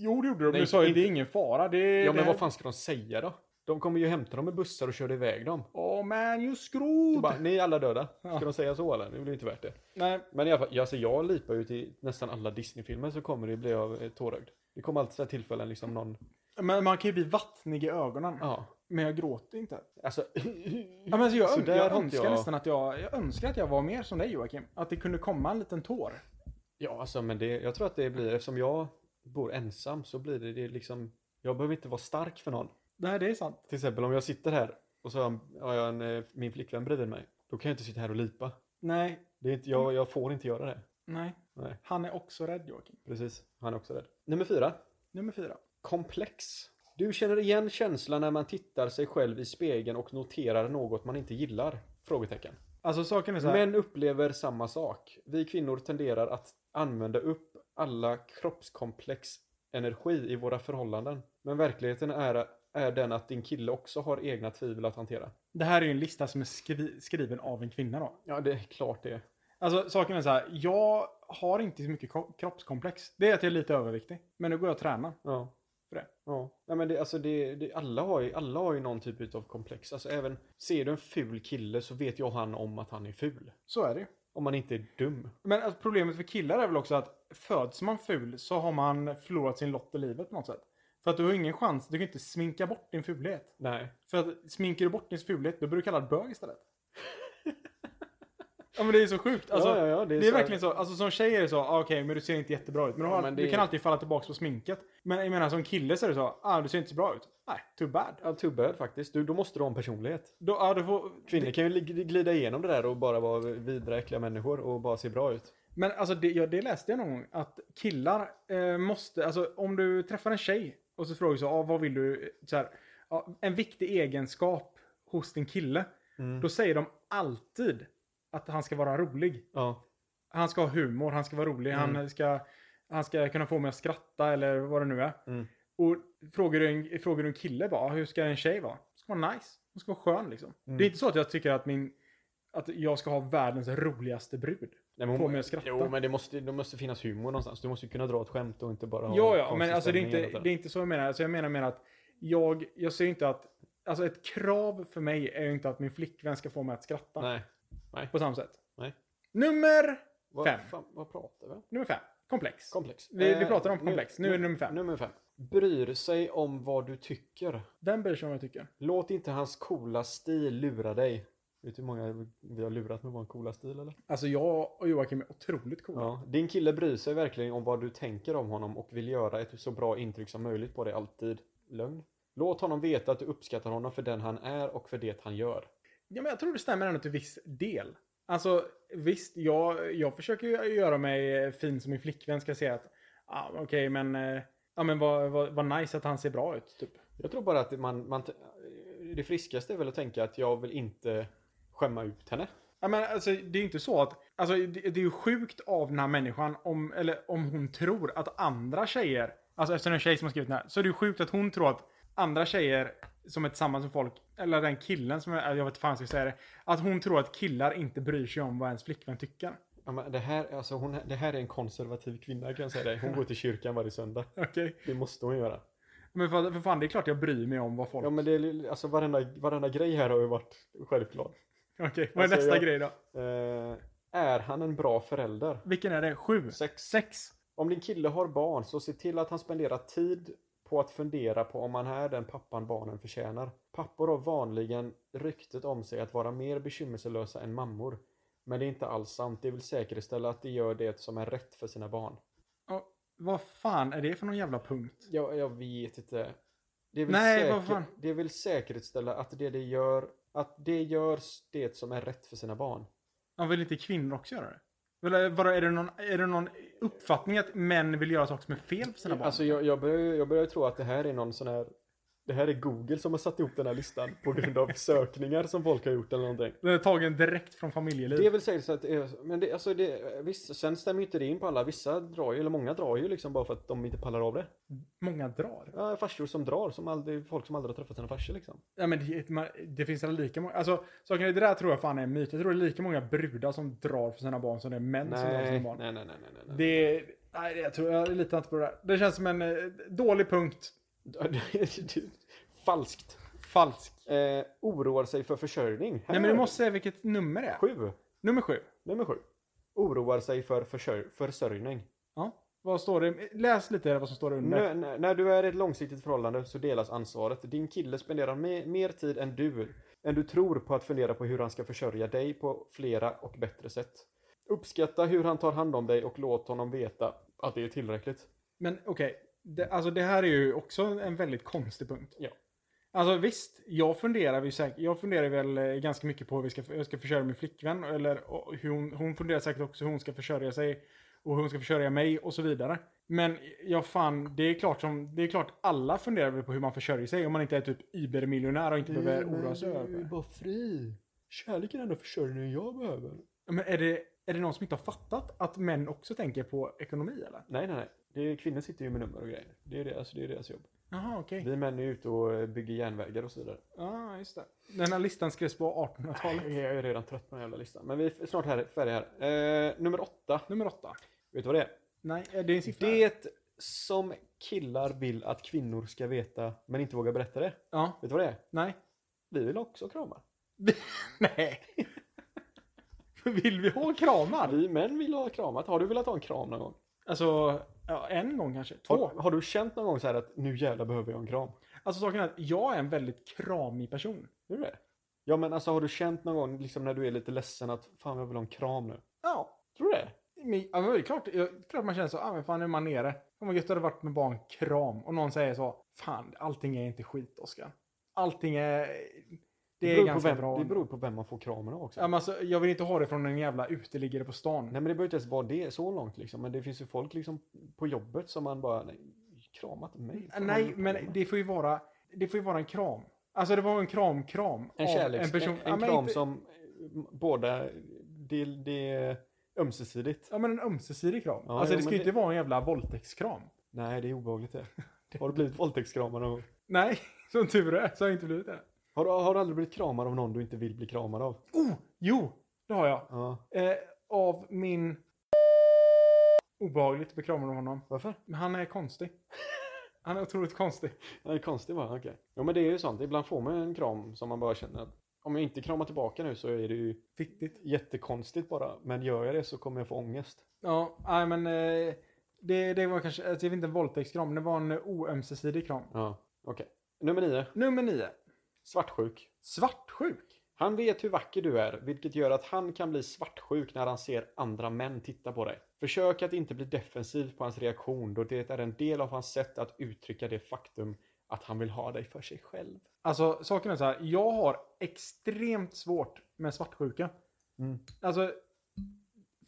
A: jo, det gjorde de.
B: Nej,
A: du sa ju
B: inte-
A: det är ingen fara. Det,
B: Ja,
A: det
B: men vad fan ska de säga då? De kommer ju hämta dem med bussar och köra iväg dem.
A: Oh man, you
B: Och
A: screwed!
B: bara, ni är alla döda. Ska
A: Ja.
B: de säga så eller? Det blir inte värt det.
A: Nej,
B: Men i alla fall, alltså jag lipar ju till nästan alla Disney-filmer så kommer det bli av eh, tårögd. Det kommer alltid så här tillfällen liksom någon,
A: men man kan ju bli vattnig i ögonen.
B: ja.
A: Men jag gråter inte.
B: Alltså, [CLEARS THROAT]
A: Ja, men alltså jag,
B: Så
A: ön-
B: där
A: jag
B: har inte
A: önskar
B: jag-
A: nästan att jag, jag önskar att jag var mer som dig Joakim. Att det kunde komma en liten tår.
B: ja alltså men det, jag tror att det blir, eftersom jag bor ensam så blir det, det är liksom, jag behöver inte vara stark för någon.
A: Nej, det är sant.
B: Till exempel om jag sitter här och så har jag- har jag en, eh, min flickvän bredvid mig. Då kan jag inte sitta här och lipa.
A: Nej,
B: Det är inte, jag, jag får inte göra det.
A: nej.
B: Nej,
A: Han är också rädd Joakim.
B: precis. Han är också rädd. Nummer fyra.
A: Nummer fyra.
B: Komplex. Du känner igen känslan när man tittar sig själv i spegeln och noterar något man inte gillar? Frågetecken.
A: Alltså saken är så här.
B: Män upplever samma sak. Vi kvinnor tenderar att använda upp alla kroppskomplex energi i våra förhållanden. Men verkligheten är, är den att din kille också har egna tvivel att hantera.
A: det här är ju en lista som är skri- skriven av en kvinna då.
B: Ja, det är klart det.
A: Alltså saken är så här. Jag har inte så mycket ko- kroppskomplex. Det är att jag är lite överviktig. Men nu går jag och tränar.
B: Ja.
A: För det.
B: Ja. Nej, men det, alltså det, det, alla, har ju, alla har ju någon typ av komplex. Alltså även, ser du en ful kille så vet jag han om att han är ful.
A: Så är det ju.
B: Om man inte är dum.
A: Men alltså, problemet för killar är väl också att föds man ful så har man förlorat sin lott i livet på något sätt. För att du har ingen chans, du kan inte sminka bort din fulhet.
B: Nej.
A: För att sminkar du bort din fulhet, då blir du kallad bög
B: [LAUGHS]
A: istället. ja men det är så sjukt. Alltså,
B: ja, ja, ja, det är,
A: Det är
B: så-
A: verkligen så. Alltså som tjej är det så, ah, okej men du ser inte jättebra ut. Men, du, har,
B: Ja, men det-
A: du kan alltid falla tillbaka på sminket. Men jag menar som kille så är det så, ah du ser inte så bra ut. Nej, too bad.
B: Ja, tubbad faktiskt. Du, då måste du ha en personlighet.
A: Då, ah, du får...
B: Kvinnor kan ju li- glida igenom det där och bara vara vidra, äckliga människor och bara se bra ut.
A: Men alltså det, ja, det läste jag någon gång. Att killar eh, måste, alltså om du träffar en tjej och så frågar du så, ah, vad vill du? Så här, ah, en viktig egenskap hos din kille.
B: Mm.
A: Då säger de alltid att han ska vara rolig.
B: Ja.
A: Han ska ha humor, han ska vara rolig, han,
B: Mm.
A: ska, han ska kunna få mig att skratta eller vad det nu är.
B: Mm.
A: Och frågar du, en, frågar du en kille bara, hur ska en tjej vara? Hon ska vara nice, hon ska vara skön liksom.
B: Mm.
A: Det är inte så att jag tycker att min att jag ska ha världens roligaste brud.
B: Nej, men
A: Får mig att skratta.
B: Jo, men det måste, det måste finnas humor någonstans. Du måste ju kunna dra ett skämt och inte bara ha
A: Ja, ja,
B: konstig
A: men alltså det är, inte,
B: stämning hela
A: det
B: tiden.
A: är inte så jag menar. Alltså jag menar mer att jag, jag ser inte att... Alltså ett krav för mig är ju inte att min flickvän ska få mig att skratta
B: Nej.
A: på samma sätt.
B: Nej.
A: Nummer,
B: Vad,
A: Fem.
B: Fan, vad pratar vi om?
A: nummer fem. Komplex.
B: Komplex.
A: Vi- vi
B: Eh,
A: pratar om komplex. Nu är det nummer fem.
B: Nummer fem. Bryr sig om vad du tycker.
A: Den bryr sig om vad jag tycker.
B: Låt inte hans coola stil lura dig. Vet du hur många vi har lurat med vår coola stil eller?
A: Alltså jag och Joakim är otroligt coola.
B: Ja. Din kille bryr sig verkligen om vad du tänker om honom och vill göra ett så bra intryck som möjligt på dig alltid. Lögn. Låt honom veta att du uppskattar honom för den han är och för det han gör.
A: Ja, men jag tror det stämmer ändå till viss del. Alltså visst, jag, jag försöker ju göra mig fin som min flickvän ska säga att ah, okej, men, eh, ja, men vad, vad, vad nice att han ser bra ut. Typ.
B: Jag tror bara att man, man det friskaste är väl att tänka att jag vill inte skämma ut henne.
A: Ja, men alltså, det är ju inte så att... Alltså, det, det är ju sjukt av den här människan om, eller om hon tror att andra tjejer... Alltså eftersom det är en tjej som har skrivit den här. Så är det ju sjukt att hon tror att andra tjejer som är tillsammans med folk, eller den killen som är, jag vet inte fan hur jag ska säga det. Att hon tror att killar inte bryr sig om vad ens flickvän tycker.
B: Ja, men det, här, alltså hon, det här är en konservativ kvinna kan jag säga dig. Hon går till kyrkan varje söndag.
A: Okej?
B: Det måste hon göra.
A: Men för, för fan, det är klart jag bryr mig om vad folk...
B: Ja men det är, alltså varenda, varenda grej här har ju varit självklart.
A: Okej, vad är
B: Alltså,
A: nästa
B: jag-
A: grej då?
B: Eh, är han en bra förälder?
A: Vilken är det? Sju?
B: Sex.
A: Sex?
B: Om din kille har barn så se till att han spenderar tid på att fundera på om han är den pappan barnen förtjänar. Pappor har vanligen ryktet om sig att vara mer bekymmerslösa än mammor. Men det är inte alls sant. Det vill säkerställa att de gör det som är rätt för sina barn.
A: Ja, vad fan är det för någon jävla punkt?
B: Jag, jag vet inte. Det vill,
A: Nej, vad fan.
B: det vill säkerställa att det de gör, att det görs det som är rätt för sina barn.
A: Ja, vill inte kvinnor också göra det? Eller vadå, är, det någon, är det någon uppfattning att män vill göra saker som är fel för sina barn?
B: Alltså jag, jag börjar ju jag börjar ju tro att det här är någon sån här det här är Google som har satt ihop den här listan på grund av sökningar som folk har gjort eller någonting.
A: Den är tagen direkt från familjeliv.
B: Det är väl säkert så att, det är- men det, alltså det, visst, sen stämmer ju inte det in på alla. Vissa drar ju, eller många drar ju liksom bara för att de inte pallar av det.
A: Många drar.
B: Ja, farsor som drar, som aldrig, folk som aldrig har träffat sina farsor liksom.
A: Ja, men det, man, det finns väl lika många... Alltså, saken är, det där tror jag fan är en myt. Jag tror det är lika många brudar som drar för sina barn som det är män som drar för
B: Nej, nej,
A: sina barn.
B: nej, nej, nej, nej. nej.
A: Det, nej, jag tror jag litar inte på det där. Det känns som en eh, dålig punkt.
B: [LAUGHS] Falskt.
A: Falsk.
B: Eh, oroar sig för försörjning.
A: Nej,
B: Här
A: men
B: är
A: du måste säga vilket nummer det är.
B: Sju.
A: Nummer sju.
B: Nummer sju. Oroar sig för försörj- försörjning.
A: Ja. Vad står det? Läs lite vad som står under.
B: Nö- nö- när du är i ett långsiktigt förhållande så delas ansvaret. Din kille spenderar me- mer tid än du, än du tror på att fundera på hur han ska försörja dig på flera och bättre sätt. Uppskatta hur han tar hand om dig och låt honom veta att det är tillräckligt.
A: Men okej, det, alltså det här är ju också en väldigt konstig punkt.
B: Ja.
A: Alltså visst, jag funderar, ju säkert, jag funderar väl eh, ganska mycket på hur vi ska, hur jag ska försörja min flickvän. Eller och hur hon, hon funderar säkert också hur hon ska försörja sig. Och hur hon ska försörja mig och så vidare. Men ja fan, det är klart som, det är klart alla funderar väl på hur man försörjer sig. Om man inte är typ Uber-miljonär och inte behöver oroa sig över det.
B: bara fri. Kärlek är den enda försörjningen jag behöver.
A: Men är det, är det någon som inte har fattat att män också tänker på ekonomi eller?
B: Nej, nej, nej. Det är, kvinnor sitter ju med nummer och grejer. Det är deras, det är deras jobb.
A: Jaha, okej.
B: Vi män är ute och eh, bygger järnvägar och så vidare.
A: Ja, just det. Den här listan skrevs på 1800-talet.
B: Jag är redan trött på den här jävla listan. Men vi är snart här, färdiga här. Eh, nummer åtta.
A: [LAUGHS] Nummer åtta.
B: Vet du vad det är?
A: Nej, är det en siffra?
B: Det som killar vill att kvinnor ska veta men inte vågar berätta det.
A: Ja,
B: Vet du vad det är?
A: nej.
B: Vi vill också krama.
A: [LAUGHS] nej. [LAUGHS] Vill vi ha kramar?
B: Vi män vill ha kramat. Har du velat ha en kram någon gång?
A: Alltså, ja, en gång kanske. Två.
B: Har, har du känt någon gång så här att nu jävlar behöver jag en kram?
A: Alltså saken är att jag är en väldigt kramig person.
B: Hur är det? Ja men alltså har du känt någon gång liksom när du är lite ledsen att fan jag vill ha en kram nu?
A: Ja.
B: Tror du det?
A: Men, ja, men det är klart, ja, det är klart man känner så, ah, men fan nu är man nere. Fan vad gött det hade varit med bara en kram. Och någon säger så, fan allting är inte skit Oskar. Allting är... Det är
B: beror på
A: ganska
B: vem,
A: bra.
B: Det beror på vem man får kramen av också.
A: ja, men alltså, jag vill inte ha det från en jävla uteliggare på stan.
B: Nej men det behöver inte ens vara det så långt liksom. Men det finns ju folk liksom på jobbet som man bara, nej, krama inte mig. Fan, vad
A: Nej,
B: håller du på med?
A: men det får ju vara, det får ju vara en kram. Alltså det var en kram-kram.
B: En
A: av
B: kärleks... En,
A: person-
B: en,
A: ja, men
B: kram
A: inte-
B: som eh, båda... Det, det är ömsesidigt.
A: Ja men en ömsesidig kram.
B: Ja,
A: alltså
B: jo,
A: det ska
B: men
A: ju inte
B: det-
A: vara en jävla våldtäktskram.
B: Nej, det är
A: [LAUGHS]
B: obehagligt det. Har du blivit våldtäktskramad någon gång?
A: Nej, [LAUGHS] som tur är så har jag inte blivit det.
B: Har du, har du aldrig blivit kramad av någon du inte vill bli kramad av?
A: Oh, jo, det har jag.
B: Ja.
A: Eh, av min... Obehagligt att bli kramad av honom.
B: Varför?
A: Men han är konstig. Han är otroligt konstig.
B: Det är konstigt bara, okej. Ja men det är ju sånt, ibland får man en kram som man bara känner att om jag inte kramar tillbaka nu så är det ju
A: Viktigt.
B: jättekonstigt bara. Men gör jag det så kommer jag få ångest.
A: Ja, nej men... eh, Det, det var kanske, alltså, jag vet inte en våldtäktskram, det var en eh, oömsesidig kram.
B: Ja, okej. Nummer nio.
A: Nummer nio.
B: Svartsjuk.
A: Svartsjuk.
B: Han vet hur vacker du är, vilket gör att han kan bli svartsjuk när han ser andra män titta på dig. Försök att inte bli defensiv på hans reaktion då det är en del av hans sätt att uttrycka det faktum att han vill ha dig för sig själv.
A: Alltså saken är så här, jag har extremt svårt med svartsjuka.
B: Mm.
A: Alltså,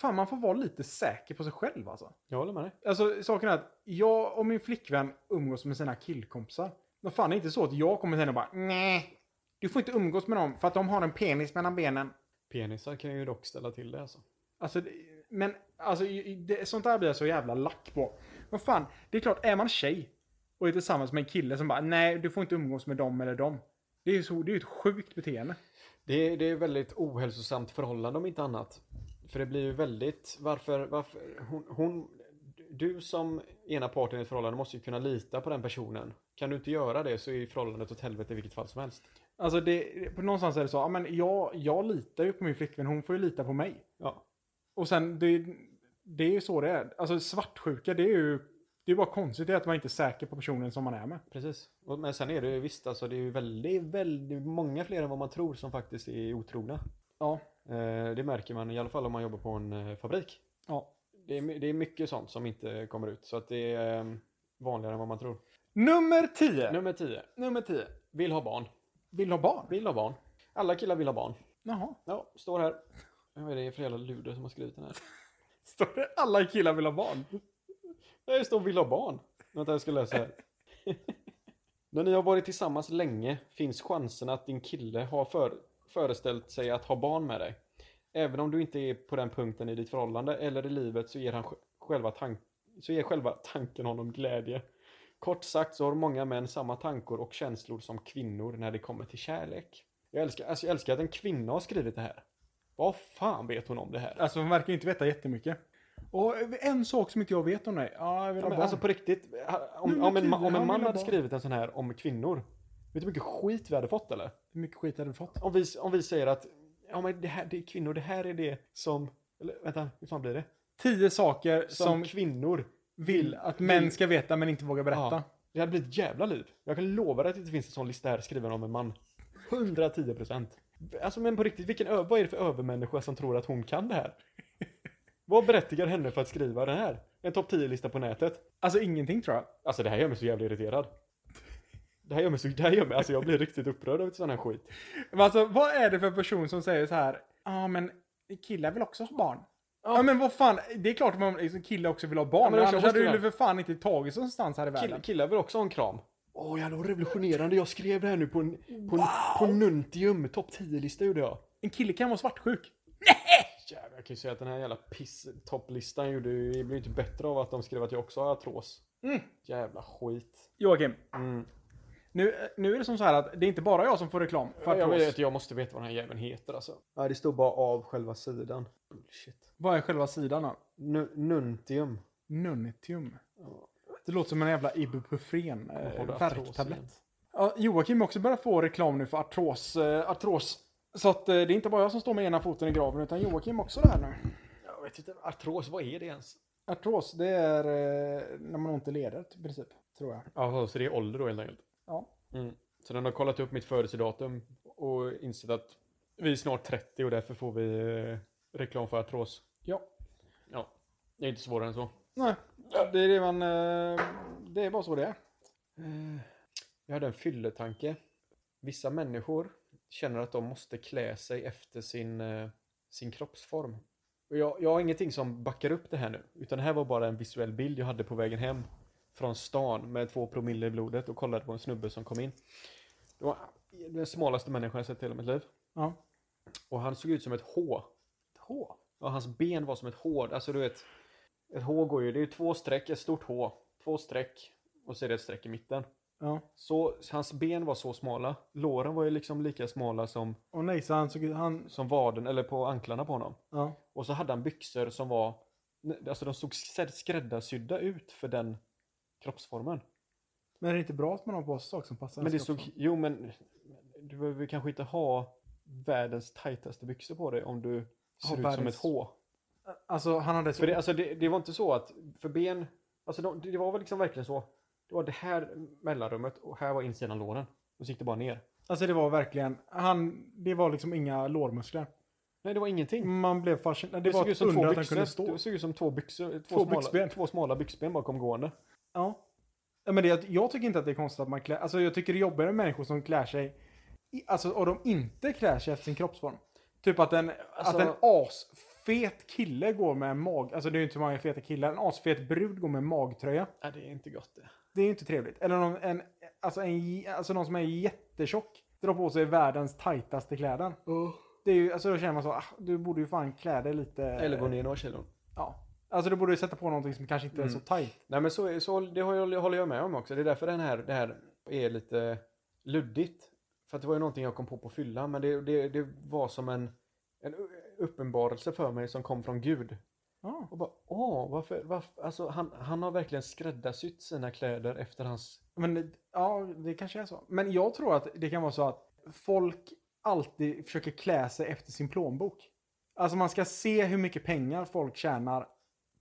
A: fan man får vara lite säker på sig själv alltså.
B: Jag håller med dig.
A: Alltså saken är att jag och min flickvän umgås med sina killkompisar. Men fan det är inte så att jag kommer till henne och bara nej. Du får inte umgås med dem för att de har en penis mellan benen.
B: Penisar kan ju dock ställa till det alltså.
A: Alltså, det- men alltså, i- i- det, sånt där blir jag så jävla lack på. Men fan, det är klart, är man tjej och är tillsammans med en kille som bara nej, du får inte umgås med dem eller dem. Det är ju så, det är ju ett sjukt beteende.
B: Det, det är väldigt ohälsosamt förhållande om inte annat. För det blir ju väldigt, varför, varför, hon, hon, du som ena parten i ett förhållande måste ju kunna lita på den personen. Kan du inte göra det så är ju förhållandet åt helvete i vilket fall som helst.
A: Alltså, det, på någonstans är det så, ja, men jag, jag litar ju på min flickvän, hon får ju lita på mig.
B: Ja.
A: Och sen, det, det är ju så det är. Alltså svartsjuka, det är ju det är bara konstigt det är att man inte är säker på personen som man är med.
B: Precis. Och- Men sen är det ju visst, alltså det är ju väldigt, väldigt många fler än vad man tror som faktiskt är otrogna.
A: Ja.
B: Eh, Det märker man i alla fall om man jobbar på en eh, fabrik.
A: ja.
B: Det är, my- det är mycket sånt som inte kommer ut. Så att det är eh, vanligare än vad man tror.
A: Nummer 10.
B: Nummer 10.
A: Nummer 10.
B: Vill ha barn.
A: Vill ha barn?
B: Vill ha barn. Alla killar vill ha barn.
A: Jaha.
B: Ja, står här. Vad är det för jävla luder som har skrivit den här?
A: Står det alla killar vill ha barn?
B: Nej, Det står vill ha barn. Vänta, jag ska läsa här. [LAUGHS] När ni har varit tillsammans länge finns chansen att din kille har för, föreställt sig att ha barn med dig. Även om du inte är på den punkten i ditt förhållande eller i livet så ger, han sj- själva, tank, så ger själva tanken honom glädje. Kort sagt så har många män samma tankar och känslor som kvinnor när det kommer till kärlek. Jag älskar, alltså jag älskar att en kvinna har skrivit det här. Vad fan vet hon om det här?
A: Alltså hon verkar ju inte veta jättemycket. Och en sak som inte jag vet om dig. Ja, jag vill
B: Ja,
A: ha
B: men
A: barn.
B: alltså på riktigt,
A: Nej,
B: om,
A: men
B: om, en, ma-
A: tydligen,
B: om en
A: han
B: man
A: vill ha
B: hade
A: barn.
B: skrivit en sån här om kvinnor, vet du hur mycket skit vi hade fått eller?
A: Hur mycket skit hade du fått?
B: Om vi, om vi säger att ja, men det här det är kvinnor, det här är det som, eller vänta, hur fan blir det?
A: Tio saker
B: Som,
A: som,
B: kvinnor.
A: vill att män ska veta men inte vågar berätta.
B: Ja, det hade blivit ett jävla liv. Jag kan lova dig att det inte finns en sån lista här skriven av en man. 110 procent. Alltså men på riktigt, vilken, ö- vad är det för övermänniska som tror att hon kan det här? Vad berättigar henne för att skriva det här? En topp 10-lista på nätet?
A: Alltså ingenting tror jag.
B: Alltså det här gör mig så jävla irriterad. Det här gör mig så, det här gör mig, alltså jag blir riktigt upprörd över sån här skit.
A: Men alltså vad är det för person som säger så här? Ja men killar vill också ha barn. Ja, men vad fan, det är klart att man- liksom, killar också vill ha barn.
B: Ja, men
A: men
B: jag
A: annars
B: måste
A: hade du
B: väl-
A: ju för fan inte tagits någonstans här i världen.
B: Kill, killar vill också ha en kram. Åh oh, jävlar vad revolutionerande, jag skrev det här nu på en, på en, på en Nuntium, topp 10-lista gjorde jag.
A: En kille kan vara svartsjuk.
B: Jävlar, jag kan ju säga att den här jävla piss-topplistan gjorde ju, det blev ju inte bättre av att de skrev att jag också har artros.
A: Mm.
B: Jävla skit.
A: Joakim,
B: Mm.
A: nu, eh, nu är det som så här att det är inte bara jag som får reklam för
B: jag,
A: artros.
B: vet, jag måste veta vad den här jäveln heter alltså. Ja, det står bara av själva sidan. Bullshit.
A: Vad är själva sidan då?
B: Nu- Nuntium.
A: Nuntium.
B: Ja.
A: Det låter som en jävla ibuprofen
B: Har
A: eh,
B: du artros igen?
A: värktablett. Ja, Joakim har också börjat få reklam nu för artros. Eh, artros. Så att, eh, det är inte bara jag som står med ena foten i graven utan Joakim också det här nu.
B: Jag vet inte, artros, vad är det ens?
A: Artros, det är eh, när man har ont i leder i princip, tror jag.
B: Jaha, så det är ålder då helt enkelt?
A: Ja.
B: Mm. Så den har kollat upp mitt födelsedatum och insett att vi är snart 30 och därför får vi eh, reklam för artros.
A: Ja.
B: Ja, det är inte svårare än så.
A: Nej, det är det man... Eh, det är bara så det är.
B: Eh, Jag hade en fylletanke. Vissa människor känner att de måste klä sig efter sin, eh, sin kroppsform. Och jag, jag har ingenting som backar upp det här nu, utan det här var bara en visuell bild jag hade på vägen hem från stan med två promille i blodet och kollade på en snubbe som kom in. Det var den smalaste människan jag sett i hela mitt liv.
A: Ja.
B: Och han såg ut som ett H.
A: Ett H.
B: Ja, hans ben var som ett H. Alltså du vet, ett H går ju, det är ju två streck, ett stort H. Två streck och så är det ett streck i mitten.
A: Ja.
B: Så hans ben var så smala. Låren var ju liksom lika smala som,
A: Och nej, så han såg ut... Han...
B: som vaden, eller på anklarna på honom.
A: Ja.
B: Och så hade han byxor som var, alltså de såg skrädd- skräddarsydda ut för den kroppsformen.
A: Men är det inte bra att man har på sig saker som passar
B: Men det
A: ens kropp
B: såg, jo men du behöver kanske inte ha världens tajtaste byxor på dig om du ser ut som
A: världens-
B: ett H.
A: så? Alltså, han hade så...
B: För det, alltså, det, det var inte så att, för ben, alltså de, det var väl liksom verkligen så. Det var det här mellanrummet och här var insidan låren. Och så gick det bara ner.
A: Alltså det var verkligen, han, det var liksom inga lårmuskler.
B: Nej det var ingenting.
A: Man blev fascinerad. Det,
B: Det,
A: var
B: såg ut
A: ett
B: som
A: under
B: två
A: att han kunde
B: byxor.
A: stå.
B: Det såg ut som två byxor. Två,
A: Två
B: smala,
A: byxben.
B: två smala byxben bara kom gående.
A: Ja. Ja, Men det, jag tycker inte att det är konstigt att man klär, alltså jag tycker det är jobbigare med människor som klär sig, i, alltså och de inte klär sig efter sin kroppsform. Typ att en,
B: Alltså-
A: att en asfet kille går med en mag, alltså det är ju inte så många feta killar, en asfet brud går med en magtröja.
B: Nej det är inte gott det.
A: Det är ju inte trevligt. Eller någon, en, alltså en, alltså någon som är jättetjock drar på sig världens tajtaste kläder. Det är ju, alltså då känner man så, ah, du borde ju fan klä dig lite.
B: Eller gå ner några kilon.
A: Ja. Alltså du borde ju sätta på någonting som kanske inte är så
B: Mm.
A: tajt.
B: Nej men så, är- så det har jag- håller jag med om också. Det är därför den här, det här är lite luddigt. För att det var ju någonting jag kom på på fyllan. Men det, det, det var som en, en u- uppenbarelse för mig som kom från Gud.
A: Ja.
B: Och bara, åh, varför, varför? Alltså han, han har verkligen skräddarsytt sina kläder efter hans...
A: Men ja, det kanske är så. Men jag tror att det kan vara så att folk alltid försöker klä sig efter sin plånbok. Alltså man ska se hur mycket pengar folk tjänar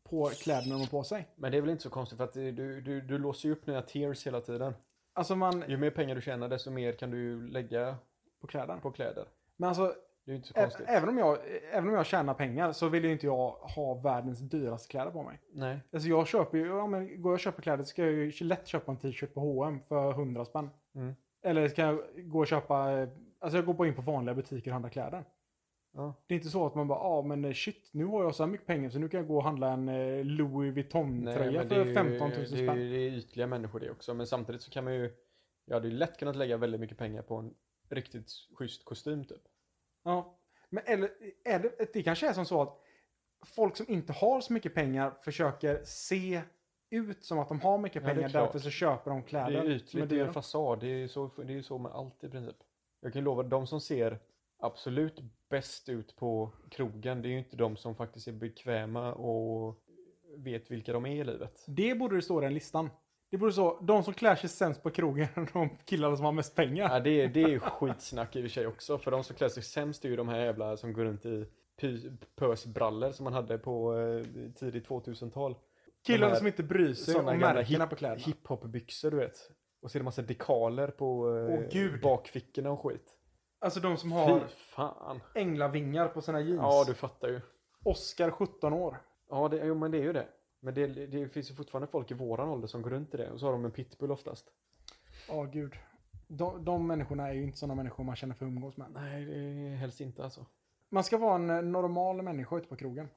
A: på kläderna de har på sig.
B: Men det är väl inte så konstigt för att det- du, du, du låser ju upp nya tiers hela tiden.
A: Alltså man...
B: Ju mer pengar du tjänar desto mer kan du ju lägga
A: På kläderna.
B: på kläder.
A: Men alltså,
B: Det är ju inte så
A: ä-
B: konstigt.
A: även om, jag, även om jag tjänar pengar så vill ju inte jag ha världens dyraste kläder på mig.
B: Nej.
A: Alltså jag köper ju, ja men går jag och köper kläder så ska jag ju lätt köpa en t-shirt på H&M för 100 spänn.
B: Mm.
A: Eller ska jag gå och köpa, eh, alltså jag går bara in på vanliga butiker och handlar kläder.
B: Ja.
A: Det är inte så att man bara, ja ah, men eh, shit, nu har jag så här mycket pengar så nu kan jag gå och handla en eh, Louis
B: Nej,
A: Vuitton-tröja
B: men det är
A: för
B: ju-
A: 15 000
B: det är,
A: spänn.
B: ju- det är ytliga människor det också. Men samtidigt så kan man ju... Jag hade ju lätt kunnat lägga väldigt mycket pengar på en riktigt schysst kostym typ.
A: Ja. Men eller, är det, det kanske är som så att folk som inte har så mycket pengar försöker se ut som att de har mycket
B: Ja, det är
A: pengar,
B: klart.
A: därför så köper de kläder.
B: det är
A: som
B: ytligt, det är
A: dyra.
B: ju en fasad. Det är ju så, det är ju så med allt i princip. Jag kan lova, de som ser absolut bäst ut på krogen, det är ju inte de som faktiskt är bekväma och vet vilka de är i livet.
A: Det borde det stå i den listan. Det borde stå de som klär sig sämst på krogen är de killarna som har mest pengar.
B: Ja, det, är- det är ju skitsnack i och för sig också. För de som klär sig sämst är ju de här jävla som går runt i py- pösbrallor som man hade på eh, tidigt 2000-tal.
A: Killarna
B: här-
A: som inte bryr sig om
B: Sådana gamla
A: märkena
B: hip,
A: på kläderna.
B: hiphopbyxor du vet. Och så är det massa dekaler på eh,
A: Åh, gud.
B: bakfickorna och skit.
A: Alltså de som
B: Fy
A: har
B: fan.
A: änglavingar på sina jeans.
B: Ja, du fattar ju.
A: Oscar 17 år.
B: Ja, det, jo, men det är ju det. Men det, det finns ju fortfarande folk i våran ålder som går runt i det. Och så har de en pitbull oftast.
A: Ja, gud. De, de människorna är ju inte sådana människor man känner för att umgås med.
B: Nej, det är helst inte alltså.
A: Man ska vara en eh, normal människa ute på krogen.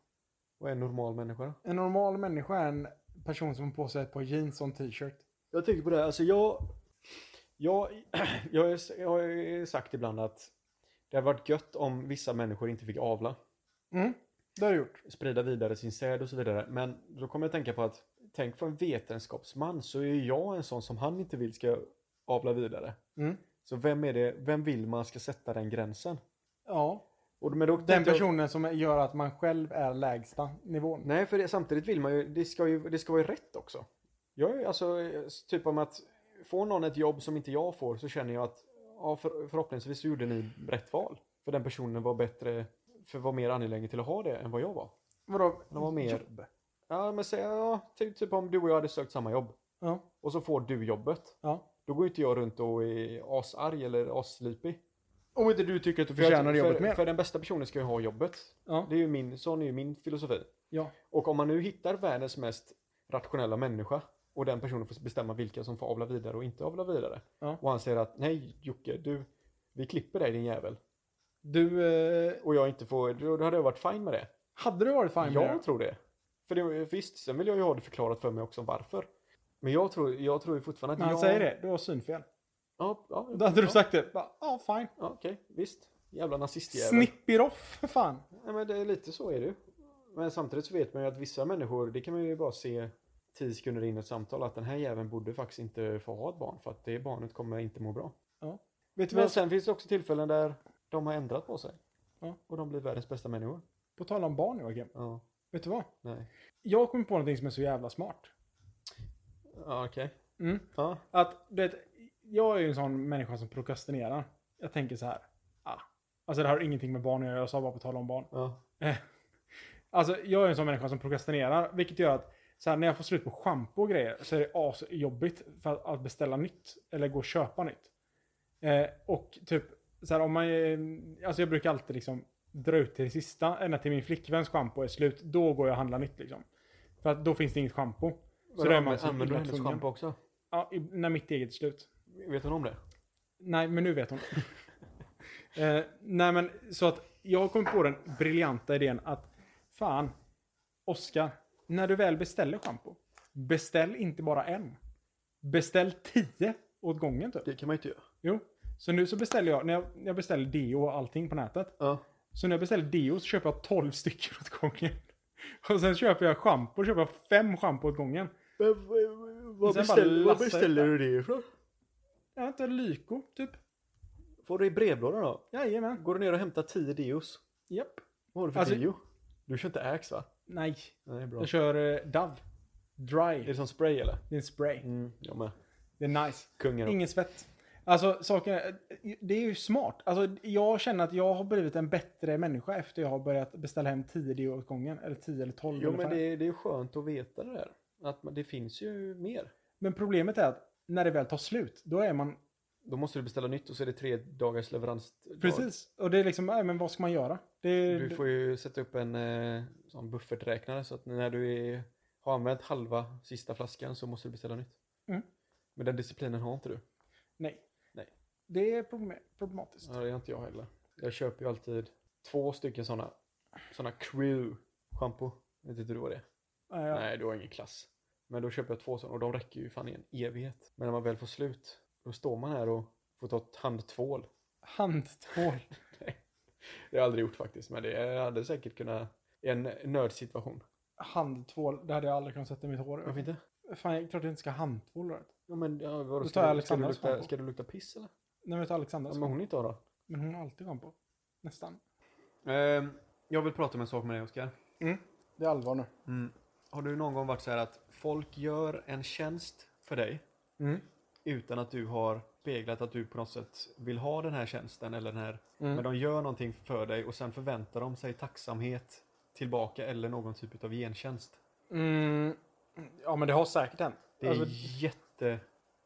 B: Vad är en normal människa då?
A: En normal människa är en person som har på sig ett par jeans och en t-shirt.
B: Jag tänkte på det, här, alltså jag... Jag, [CLEARS THROAT] jag, har, ju- jag har ju sagt ibland att det hade varit gött om vissa människor inte fick avla,
A: Mm, det har du gjort.
B: sprida vidare sin säd och så vidare. Men då kommer jag att tänka på att, tänk för en vetenskapsman så är ju jag en sån som han inte vill ska avla vidare.
A: Mm.
B: Så vem är det, vem vill man ska sätta den gränsen?
A: Ja.
B: Och, men då
A: Den
B: tänkte jag-
A: personen som gör att man själv är lägsta nivån.
B: Nej, för det, samtidigt vill man ju, det ska ju, det ska vara rätt också. Jag är ju alltså, eh, typ om att får någon ett jobb som inte jag får så känner jag att ja, för, förhoppningsvis så gjorde ni rätt val. För den personen var bättre, för var mer angelägen till att ha det än vad jag var.
A: Vadå?
B: Det var mer-
A: Jobb.
B: Ja, men säg, ja, typ, typ om du och jag hade sökt samma jobb
A: Ja.
B: och så får du jobbet.
A: ja.
B: Då går ju inte jag runt och är asarg eller asslipig.
A: Om inte du tycker att du
B: För,
A: förtjänar
B: att-
A: jobbet
B: för,
A: mer.
B: för den bästa personen ska ju ha jobbet.
A: ja.
B: Det är ju min, sån är ju min filosofi.
A: ja.
B: Och om man nu hittar världens mest rationella människa och den personen får bestämma vilka som får avla vidare och inte avla vidare.
A: Ja.
B: Och han säger att nej Jocke, du, vi klipper dig din jävel.
A: Du, eh,
B: Och jag inte får, då då hade jag varit fine med det.
A: hade du varit fine med
B: jag
A: det?
B: tror det. För det, visst, sen vill jag ju ha det förklarat för mig också varför. Men jag tror, jag tror ju fortfarande att
A: När han
B: jag...
A: säger det, du har synfel.
B: Ja, ja,
A: Då hade
B: ja,
A: du sagt det. Bara, Ja, fine.
B: Ja, okej, visst. Jävla nazistjävel.
A: Snipp it off, för fan.
B: Nej men det är lite så är det ju. Men samtidigt så vet man ju att vissa människor, det kan man ju bara se tio sekunder in i ett samtal att den här jäveln borde faktiskt inte få ha ett barn för att det barnet kommer inte må bra.
A: Vet du
B: Men
A: vad?
B: sen finns det också tillfällen där de har ändrat på sig.
A: Ja.
B: Och de blir världens bästa människor.
A: På tal om barn Joakim.
B: Ja,
A: Vet du vad?
B: nej.
A: Jag kom på någonting som är så jävla smart.
B: Ja, okej.
A: Mm.
B: Ja,
A: Att, du vet, jag är ju en sån människa som prokrastinerar. Jag tänker så här. Ah, alltså det här har ingenting med barn att göra. Jag sa bara på tal om barn.
B: ja.
A: Eh, Alltså jag är en sån människa som prokrastinerar. Vilket gör att så här, när jag får slut på schampo och grejer så är det asjobbigt för att, att beställa nytt. Eller gå och köpa nytt. Eh, och typ så här om man... eh, Alltså jag brukar alltid liksom dra ut till det sista. Ända till min flickväns schampo är slut. Då går jag och handlar nytt liksom. För att då finns det inget schampo.
B: Så det
A: är man
B: använder,
A: så
B: använder du
A: himla
B: hennes
A: tvungen.
B: schampo också?
A: Ja, i- när mitt eget är slut.
B: Vet hon om det?
A: Nej, men nu vet hon. eh, nej, men så att jag kom på den briljanta idén att fan, Oskar, när du väl beställer schampo, beställ inte bara en. Beställ tio åt gången typ.
B: Det kan man ju inte göra.
A: Jo. Så nu så beställer jag, när jag, när jag beställer deo och allting på nätet,
B: Ja.
A: så när jag beställer deo så köper jag 12 stycken åt gången. [LAUGHS] Och sen köper jag schampo, köper jag fem schampo åt gången.
B: Men, vad,
A: Sen beställer- bara
B: beställer,
A: vad
B: vad
A: lassar beställer
B: beställer
A: ut
B: du det ifrån?
A: Jag inte Lyko, typ.
B: Får du i brevlådan då?
A: Jajamän.
B: Går du ner och hämtar 10 deos?
A: Japp.
B: Vad har du för
A: Alltså-
B: deo? Du kör inte Axe va?
A: Nej,
B: Nej, bra.
A: jag kör eh, Dove. Dry.
B: Är det som spray eller?
A: Det är en spray.
B: Mm, jag med.
A: Det är nice.
B: Kungen.
A: Ingen svett. Alltså, saken är, det är ju smart. Alltså, jag känner att jag har blivit en bättre människa efter jag har börjat beställa hem 10 deo åt gången. Eller 10 eller 12.
B: Jo,
A: eller
B: men
A: vad det...
B: det
A: är.
B: är, det är skönt att veta det där. Att man, det finns ju mer.
A: men problemet är att när det väl tar slut, då är man...
B: Då måste du beställa nytt och så är det tre dagars leverans.
A: Precis. Och det är liksom, nej, men vad ska man göra? Det är,
B: Du får ju sätta upp en eh, sån bufferträknare så att när du är, har använt halva sista flaskan så måste du beställa nytt.
A: Mm.
B: Men den disciplinen har inte du.
A: Nej.
B: Nej.
A: Det är problem- problematiskt.
B: Ja, det har inte jag heller. Jag köper ju alltid två stycken såna, såna crew shampoo. Vet inte du vad det är?
A: Ja, ja.
B: Nej, du har ingen klass. Men då köper jag två sådana och de räcker ju fan i en evighet. Men när man väl får slut, då står man här och får ta ett handtvål.
A: Handtvål.
B: Det har jag aldrig gjort faktiskt, men det jag hade säkert kunnat i en nödsituation.
A: Handtvål, det hade jag aldrig kunnat sätta mitt hår
B: Varför
A: över.
B: inte?
A: Fan, jag klart jag inte ska ha handtvål. Right?
B: Ja, men ja, vadå,
A: Då
B: ska,
A: tar jag
B: du- ska, du
A: Alexandras
B: lukta,
A: shampoo.
B: ska du lukta piss eller?
A: Nej, men ta Alexandra.
B: Ja, men hon inte har då.
A: Men hon har alltid schampo. Nästan.
B: Ehm, jag vill prata om en sak med dig Oskar. Mm.
A: Det är allvar nu.
B: Har du någon gång varit så här att folk gör en tjänst för dig
A: Mm.
B: utan att du har speglat att du på något sätt vill ha den här tjänsten eller den här.
A: Mm.
B: Men de gör någonting för dig och sen förväntar de sig tacksamhet tillbaka eller någon typ av gentjänst.
A: Mm, ja, men det har säkert hänt.
B: Det är
A: alltså,
B: jätte,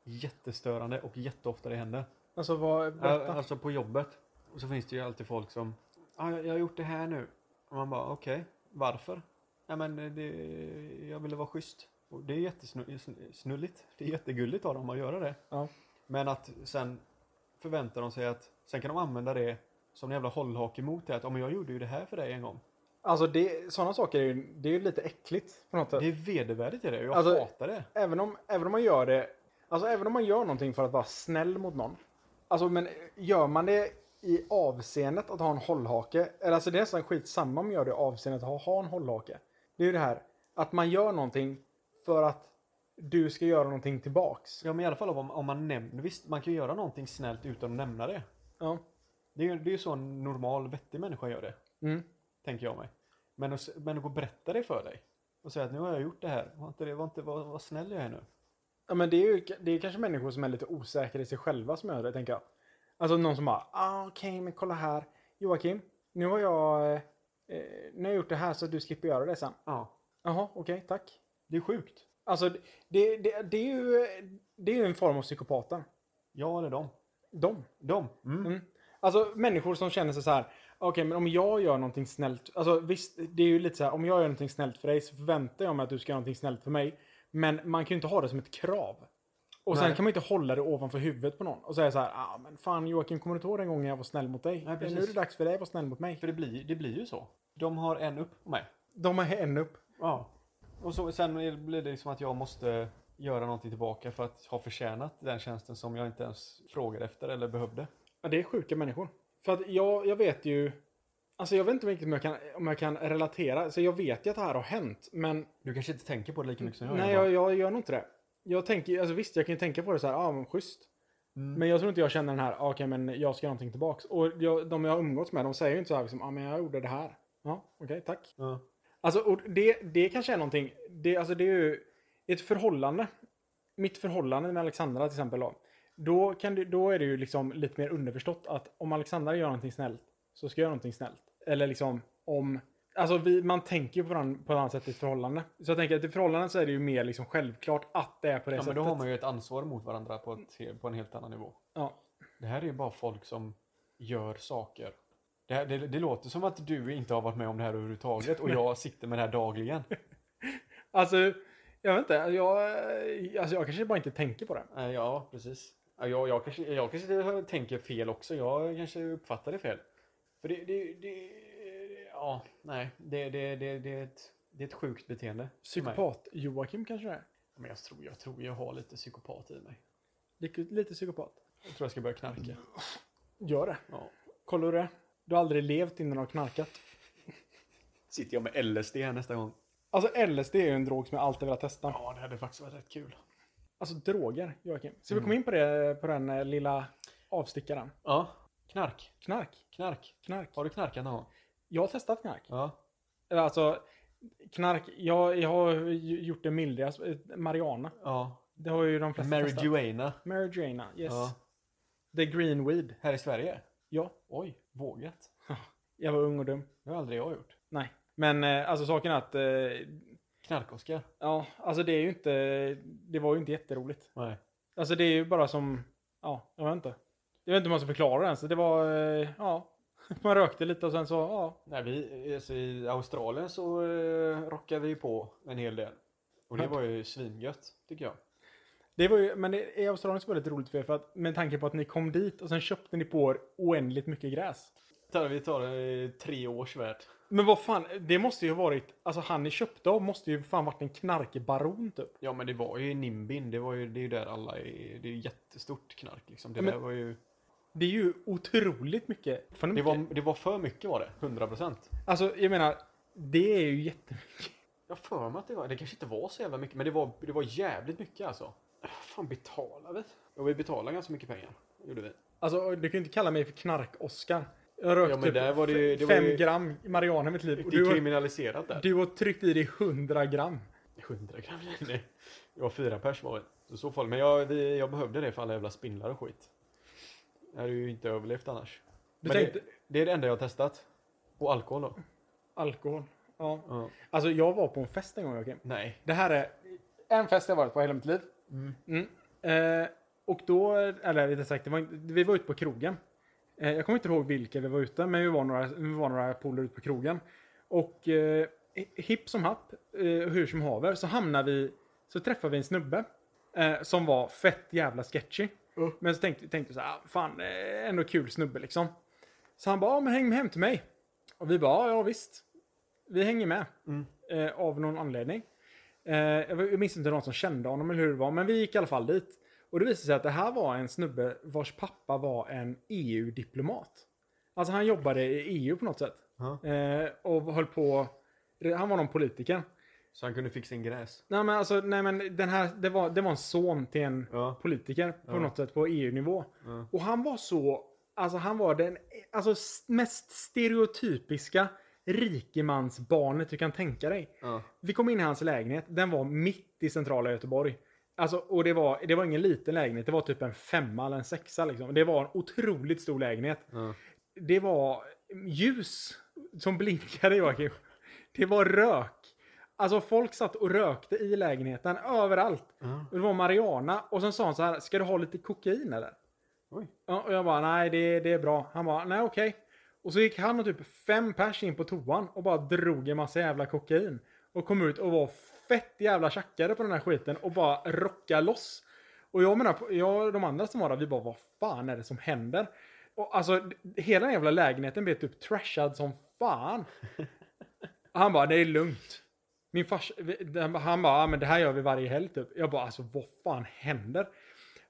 B: jättestörande och jätteofta det händer.
A: alltså, vad...
B: Ja,
A: Berätta.
B: Alltså på jobbet. Och så finns det ju alltid folk som ah, jag jag har gjort det här nu. Och man bara okej, varför? Nej men eh, det, jag ville vara schysst. Och det är eh, jättesnulligt. Det är jättegulligt av dem att göra det.
A: Ja.
B: Men att sen förväntar de sig att sen kan de använda det som en jävla hållhake mot det. Att om jag gjorde ju det här för dig en gång.
A: Alltså, det, sådana saker är ju, det är ju lite äckligt på något sätt.
B: Det är vedervärdigt i det. Jag
A: Alltså-
B: hatar det.
A: Även, om, även om man gör det... Alltså, även om man gör någonting för att vara snäll mot någon. Alltså, men gör man det i avseendet att ha en hållhake? Eller alltså, det är nästan skitsamma om man gör det i avseendet att ha, ha en hållhake. Det är ju det här att man gör någonting för att du ska göra någonting tillbaks.
B: Ja men i alla fall om, om man nämner. Visst, man kan ju göra någonting snällt utan att nämna det.
A: Ja.
B: Det är ju det är ju så en normal vettig människa gör det.
A: Mm.
B: tänker jag mig. Men att, s- men att gå och berätta det för dig och säga att nu har jag gjort det här. Var inte det, var inte, var, var snäll jag är nu.
A: Ja, men det är ju det är kanske människor som är lite osäkra i sig själva som gör det, tänker jag. Alltså någon som bara, ah, okej, men kolla här. Joakim, nu har jag, eh, eh, nu har jag gjort det här så du slipper göra det sen.
B: Ja.
A: Jaha, okej, tack.
B: Det är sjukt.
A: Alltså, det, det, det är ju det är ju en form av psykopaten.
B: Jag eller dem.
A: De.
B: Dem. Mm.
A: Mm. Alltså människor som känner sig så här, okej, men om jag gör någonting snällt, alltså visst, det är ju lite så här, om jag gör någonting snällt för dig så förväntar jag mig att du ska göra någonting snällt för mig. Men man kan ju inte ha det som ett krav. Och sen
B: Nej.
A: kan man inte hålla det ovanför huvudet på någon och säga så här, ah, men fan Joakim, kommer du inte ihåg den gången jag var snäll mot dig?
B: Nej, precis.
A: nu är det dags för dig att vara snäll mot mig.
B: För det blir, det blir ju så. De har en upp på mig.
A: De har en upp.
B: Ja. Och så, sen är- blir det liksom att jag måste göra någonting tillbaka för att ha förtjänat den tjänsten som jag inte ens frågade efter eller behövde.
A: Ja, det är sjuka människor. För att jag, jag vet ju Alltså jag vet inte riktigt om jag kan, om jag kan relatera. Så jag vet ju att det här har hänt, men
B: Du kanske inte tänker på det lika mycket som jag
A: nej,
B: gör.
A: jag, jag gör nog inte det. Jag tänker, alltså visst, jag kan ju tänka på det så här, ja ah, men schysst.
B: Mm.
A: Men jag tror inte jag känner den här, ah, okej men jag ska göra någonting tillbaks. Och jag, de jag har umgåtts med, de säger ju inte så här, liksom, ja ah, men jag gjorde det här. Ja, okej, tack.
B: Ja.
A: Alltså, och det, det kanske är någonting. Det, alltså, det är ju ett förhållande. Mitt förhållande med Alexandra till exempel. Då, då, kan det, då är det ju liksom lite mer underförstått att om Alexandra gör någonting snällt så ska jag göra någonting snällt. Eller liksom om... Alltså vi, man tänker ju på, varann, på ett annat sätt i ett förhållande. Så jag tänker att i förhållanden så är det ju mer liksom självklart att det är på det
B: ja, men
A: sättet.
B: då har man ju ett ansvar mot varandra på, ett, he- på en helt annan nivå.
A: ja.
B: Det här är ju bara folk som gör saker. Det, här, det, det låter som att du inte har varit med om det här [LAUGHS] överhuvudtaget och jag sitter med det här dagligen.
A: Alltså, jag vet inte. Jag, alltså, jag kanske bara inte tänker på det.
B: Eh, Ja, precis. Ja, Jag, jag, kanske, jag kanske tänker fel också. Jag kanske uppfattar det fel. För det... det, det ja, nej. Det, det, det, det, är ett, det är ett sjukt beteende. för mig.
A: Psykopat-Joakim kanske det är.
B: Ja, Men jag tror, jag tror jag har lite psykopat i mig.
A: Lite, lite psykopat.
B: Jag tror jag ska börja knarka.
A: Gör det.
B: Ja.
A: Kollar du det? Du har aldrig levt innan du har knarkat.
B: Sitter jag med LSD här nästa gång?
A: Alltså LSD är ju en drog som jag alltid velat testa.
B: Ja, det hade faktiskt varit rätt kul.
A: Alltså droger, Joakim. Ska vi
B: Mm.
A: komma in på det på den eh, lilla avstickaren?
B: Ja, knark.
A: Knark.
B: Knark.
A: Knark.
B: Har du knarkat någon gång?
A: Jag har testat knark.
B: Ja.
A: Eller Alltså, knark. Jag, jag har ju gjort det mildast. Mariana.
B: ja.
A: Det har ju de flesta testat.
B: Marijuana.
A: Marijuana. Yes.
B: Ja.
A: The green weed.
B: Här i Sverige?
A: Ja.
B: Oj, vågat.
A: Jag var ung och dum.
B: Det har aldrig jag gjort.
A: Nej. Men eh, alltså saken är att... eh,
B: Knark-Oskar?
A: Ja, alltså det är ju inte... Det var ju inte jätteroligt.
B: Nej.
A: Alltså det är ju bara som, ja, jag vet inte. Jag vet inte hur man ska förklara det ens. Det var, eh, ja, [LAUGHS] man rökte lite och sen så, ja.
B: Nej, vi, alltså, i Australien så eh, rockade vi på en hel del. Och det var ju svingött, tycker jag.
A: Det var ju, men det, i Australien så var det lite roligt för er för att, med tanke på att ni kom dit och sen köpte ni på er oändligt mycket gräs.
B: Tar- Vi tar eh, tre års värt.
A: Men vad fan, det måste ju ha varit, alltså han ni köpte av måste ju fan varit en knarkbaron typ.
B: Ja, men det var ju i Nimbin. Det, var ju, det är ju där alla är. Det är ju jättestort knark liksom. Det,
A: Ja, men-
B: där var ju,
A: Det är ju otroligt mycket. För
B: det,
A: mycket.
B: var, det var för mycket var det. 100 procent.
A: Alltså jag menar, det är ju jättemycket.
B: Jag har för mig att det var. Det kanske inte var så jävla mycket, men det var, det var jävligt mycket alltså. Äh, fan betalade vi? Ja, vi betalade ganska mycket pengar. Gjorde vi.
A: Alltså du kan ju inte kalla mig för knark-Oskar. Jag rökte typ
B: Ja, men där var det ju- det var
A: fem
B: ju-
A: gram marijuana i mitt liv. och
B: Det
A: du
B: är
A: har-
B: kriminaliserat där.
A: Du har tryckt i dig 100 gram.
B: 100 gram [LAUGHS] nej. Jag var fyra pers var vi. Så så fall. Men jag, vi, jag behövde det för alla jävla spindlar och skit. Jag hade ju inte överlevt annars.
A: Du
B: Men
A: tänkte
B: det, det är det enda jag har testat. Och alkohol då.
A: alkohol. Ja.
B: Ja.
A: Alltså jag var på en fest en gång Joakim.
B: Nej.
A: Det här är en fest jag varit på hela mitt liv.
B: Mm.
A: Eh, och då, eller rättare sagt, det var, inte- vi var ute på krogen. Eh, jag kommer inte ihåg vilka vi var ute, men vi var några, vi var några polare ute på krogen. Och eh, hipp som happ, eh, hur som haver, så hamnar vi, så träffar vi en snubbe. Eh, som var fett jävla sketchy.
B: Uh.
A: Men så tänkte, tänkte vi så här, "Ah, fan, eh, ändå kul snubbe liksom. Så han bara, "Ja, men häng med hem till mig. Och vi bara, "Ja, ja visst. Vi hänger med.
B: Mm.
A: Eh, av någon anledning. Eh, jag vet- jag minns inte någon som kände honom eller hur det var, men vi gick i alla fall dit. Och det visade sig att det här var en snubbe vars pappa var en EU-diplomat. Alltså han jobbade i EU på något sätt.
B: Ja.
A: Eh, och höll på, han var någon politiker.
B: Så han kunde fixa en gräs.
A: Nej men alltså, nej men den här, det var, det var en son till en
B: Ja.
A: politiker på
B: Ja.
A: något sätt på EU-nivå.
B: Ja.
A: Och han var så, alltså han var den alltså, s- mest stereotypiska rikemansbarnet du kan tänka dig.
B: ja.
A: Vi kom in i hans lägenhet. Den var mitt i centrala Göteborg. Alltså, och det var, det var ingen liten lägenhet. Det var typ en femma eller en sexa. Liksom. Det var en otroligt stor lägenhet.
B: ja.
A: Det var ljus som blinkade, Joakim. Det var rök. Alltså folk satt och rökte i lägenheten överallt.
B: ja.
A: Och Det var Mariana och sen sa han så här, ska du ha lite kokain eller?
B: Oj.
A: Ja, Och jag bara, nej det, det är bra. Han bara, nej okej. Och så gick han och typ fem pers in på toan och bara drog en massa jävla kokain. Och kom ut och var fett jävla tjackade på den här skiten och bara rockade loss. Och jag menar, på- jag och de andra som var där, vi bara, vad fan är det som händer? Och alltså, d- hela den jävla lägenheten blev typ trashad som fan. Han bara, det är lugnt. Min fars, den- han bara, "Ja, men det här gör vi varje helg typ. Jag bara, alltså vad fan händer?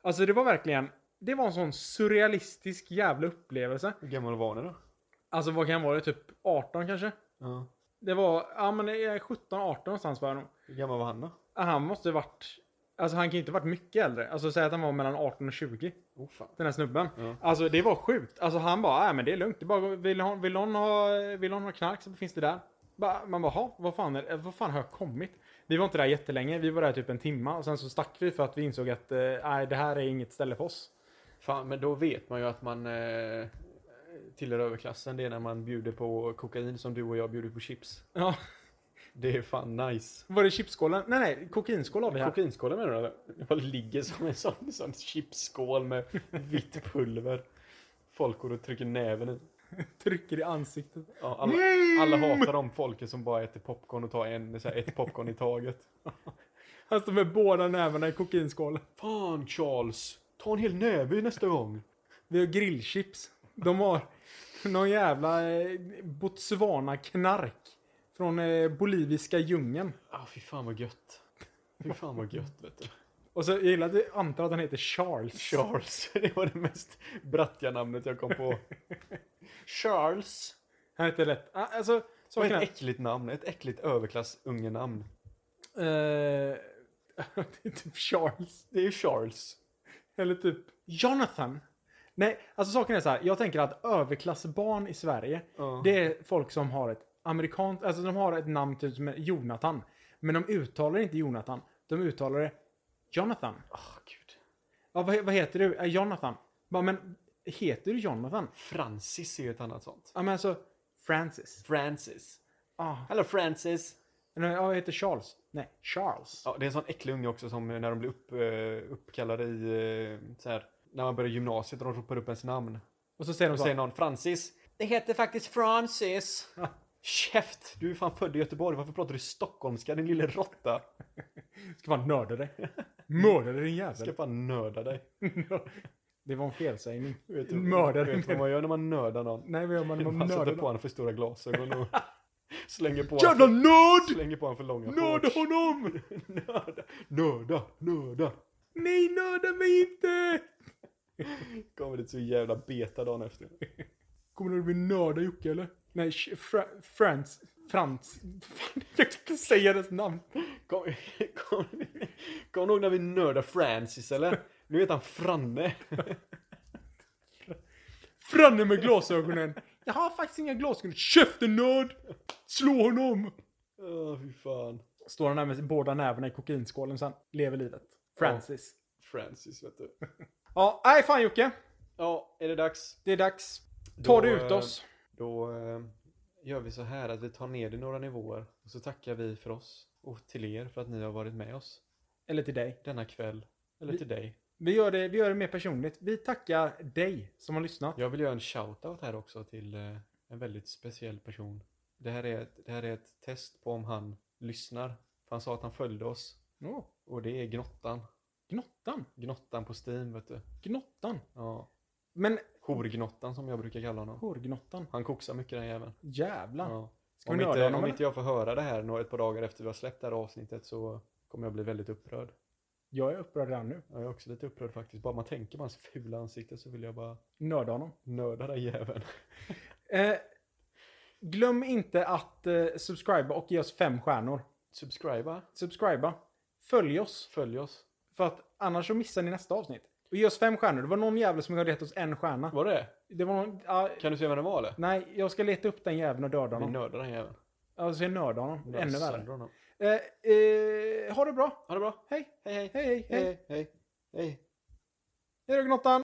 A: Alltså det var verkligen, det var en sån surrealistisk jävla upplevelse.
B: Hur gammal var ni då?
A: Alltså vad kan han vara? Typ 18 kanske?
B: Ja.
A: Det var, ja men det är 17, 18 någonstans var jag nog.
B: Hur gammal var han då?
A: Ja, Han måste ju varit, alltså han kan ju inte varit mycket äldre. Alltså säg att han var mellan 18 och 20,
B: Oh, fan.
A: den här snubben.
B: Ja.
A: Alltså det var sjukt. Alltså han bara, nej men det är lugnt. Det är bara, vill, hon, vill, hon ha, vill hon ha knark så finns det där. Bara- Man bara, "Ha, vad fan, är, det- vad fan har jag kommit? Vi var inte där jättelänge, vi var där typ en timma och sen så stack vi för att vi insåg att eh, nej, det här är inget ställe för oss. [LAUGHS]
B: Fan, men då vet man ju att man eh, tillhör överklassen. Det är när man bjuder på kokain som du och jag bjuder på chips.
A: Ja,
B: Det är fan nice.
A: var det chipsskålen? Nej, nej, kokainskål har vi här.
B: Kokainskålen menar du? eller? Jag ligger som en sån, sån chipsskål med vitt pulver. Folk går och trycker näven i.
A: [LAUGHS] Trycker i ansiktet.
B: Ja, alla,
A: Mm.
B: alla hatar de folket som bara äter popcorn och tar en, så här, ett popcorn i taget.
A: Han står med båda nävarna i kokainskålen.
B: Fan Charles, ta en hel näve nästa gång.
A: Vi har grillchips. De har någon jävla eh, Botswana-knark. Från eh, boliviska djungeln.
B: Ah, fy fan vad gött. Fy fan vad gött vet du.
A: Och så jag gillar att du antar att han heter Charles.
B: Charles, [LAUGHS] det var det mest brattiga namnet jag kom på. [LAUGHS] Charles.
A: Han heter lätt... ah, Alltså,
B: Som
A: saken
B: ett
A: är...
B: äckligt namn, ett äckligt överklassungenamn.
A: Eh, [LAUGHS] det är typ Charles.
B: Det är ju Charles.
A: Eller typ Jonathan. Nej, alltså saken är så här. Jag tänker att överklassbarn i Sverige,
B: Ja.
A: det är folk som har ett amerikanskt, alltså de har ett namn typ som är Jonathan. Men de uttalar inte Jonathan, de uttalar det Jonathan.
B: Ah, gud.
A: Ja, vad, vad heter du? Eh, Jonathan. Bara, men heter du Jonathan?
B: Francis är ju ett annat sånt.
A: Ja, men alltså Francis.
B: Francis.
A: Ah.
B: Hello Francis.
A: nej, Ja, jag heter Charles. Nej, Charles.
B: Ja, det är en sån äcklig unge också som när de blir upp, eh, uppkallade i eh, så här, när man börjar gymnasiet och de ropar upp ens namn.
A: Och så säger de
B: Och
A: så.
B: säger någon Francis. Det heter faktiskt Francis.
A: Ja.
B: [LAUGHS] Käft! Du är fan född i Göteborg. Varför pratar du stockholmska din lille råtta?
A: [LAUGHS] Ska man nörda dig? Mörda dig din
B: Jag ska
A: jävel.
B: fan nörda dig.
A: det var en felsägning.
B: Vet du,
A: Mörda dig.
B: vet du vad man gör när man nördar någon?
A: Nej, vad gör man när man
B: Man sätter
A: nördar
B: på
A: någon?
B: honom för stora glasögon [LAUGHS] och slänger på
A: Jävla
B: honom för,
A: nörd!
B: slänger på honom för långa
A: Nörda
B: shorts.
A: honom!
B: [LAUGHS] Nörda, nörda, nörda.
A: Nej, nörda mig inte!
B: Kommer det så jävla beta dagen efter.
A: Kommer du bli nörda Jocke eller? Nej, Sh- Fra- Frans. Frans. Fan, jag kan inte säga dess namn.
B: Kom, kom, kom du ihåg när vi nördade Francis eller? Nu heter han Franne. [LAUGHS]
A: Franne med glasögonen. Jag har faktiskt inga glasögon. Käften nörd! Slå honom!
B: Åh fy fan.
A: Står han där med båda nävarna i kokainskålen sen. Lever livet. Francis.
B: Francis vet du.
A: Ja, nej fan Jocke.
B: Ja, är det dags?
A: Det är dags. Tar du
B: Då,
A: ut oss?
B: Då eh, gör vi så här att vi tar ner det några nivåer. Och så tackar vi för oss. Och till er för att ni har varit med oss.
A: Eller till dig.
B: denna kväll. Eller
A: Vi-
B: till dig.
A: Vi gör, det, vi gör det mer personligt. Vi tackar dig som har lyssnat.
B: Jag vill göra en shoutout här också till eh, en väldigt speciell person. Det här, är ett, det här är ett test på om han lyssnar. För han sa att han följde oss.
A: Åh,
B: Och det är Gnottan.
A: gnottan.
B: Gnottan på Steam, vet du.
A: Gnottan.
B: Ja.
A: Men
B: Horgnottan som jag brukar kalla honom.
A: hårgnottan.
B: Han koksar mycket den jäveln.
A: Jävlar.
B: Ja.
A: Ska
B: Om,
A: vi nörda
B: inte,
A: honom
B: om
A: eller?
B: inte jag får höra det här några ett par dagar efter vi har släppt det här avsnittet så kommer jag bli väldigt upprörd.
A: Jag är upprörd redan nu.
B: Jag är också lite upprörd faktiskt. Bara man tänker på hans fula ansikte så vill jag bara
A: Nörda honom.
B: nörda den jäveln. [LAUGHS]
A: Eh, glöm inte att eh, subscriba och ge oss fem stjärnor.
B: Subscriba,
A: Subscriba. Följ oss.
B: följ oss.
A: För att annars så missar ni nästa avsnitt. Och ge oss fem stjärnor. Det var någon jävel som hade gett oss en stjärna.
B: Var det det?
A: Det var någon... ja,
B: Kan du se vem det var eller?
A: nej, jag ska leta upp den jäveln och döda
B: Vi
A: honom.
B: nördar den jäveln.
A: Alltså jag nördar honom.
B: Nördar
A: Ännu
B: sönder
A: värre.
B: honom.
A: Eh, eh, ha det bra.
B: Ha det bra.
A: Hej,
B: Hej, hej.
A: hej, hej. hej.
B: hej, hej. hej.
A: Hej då Gnottan.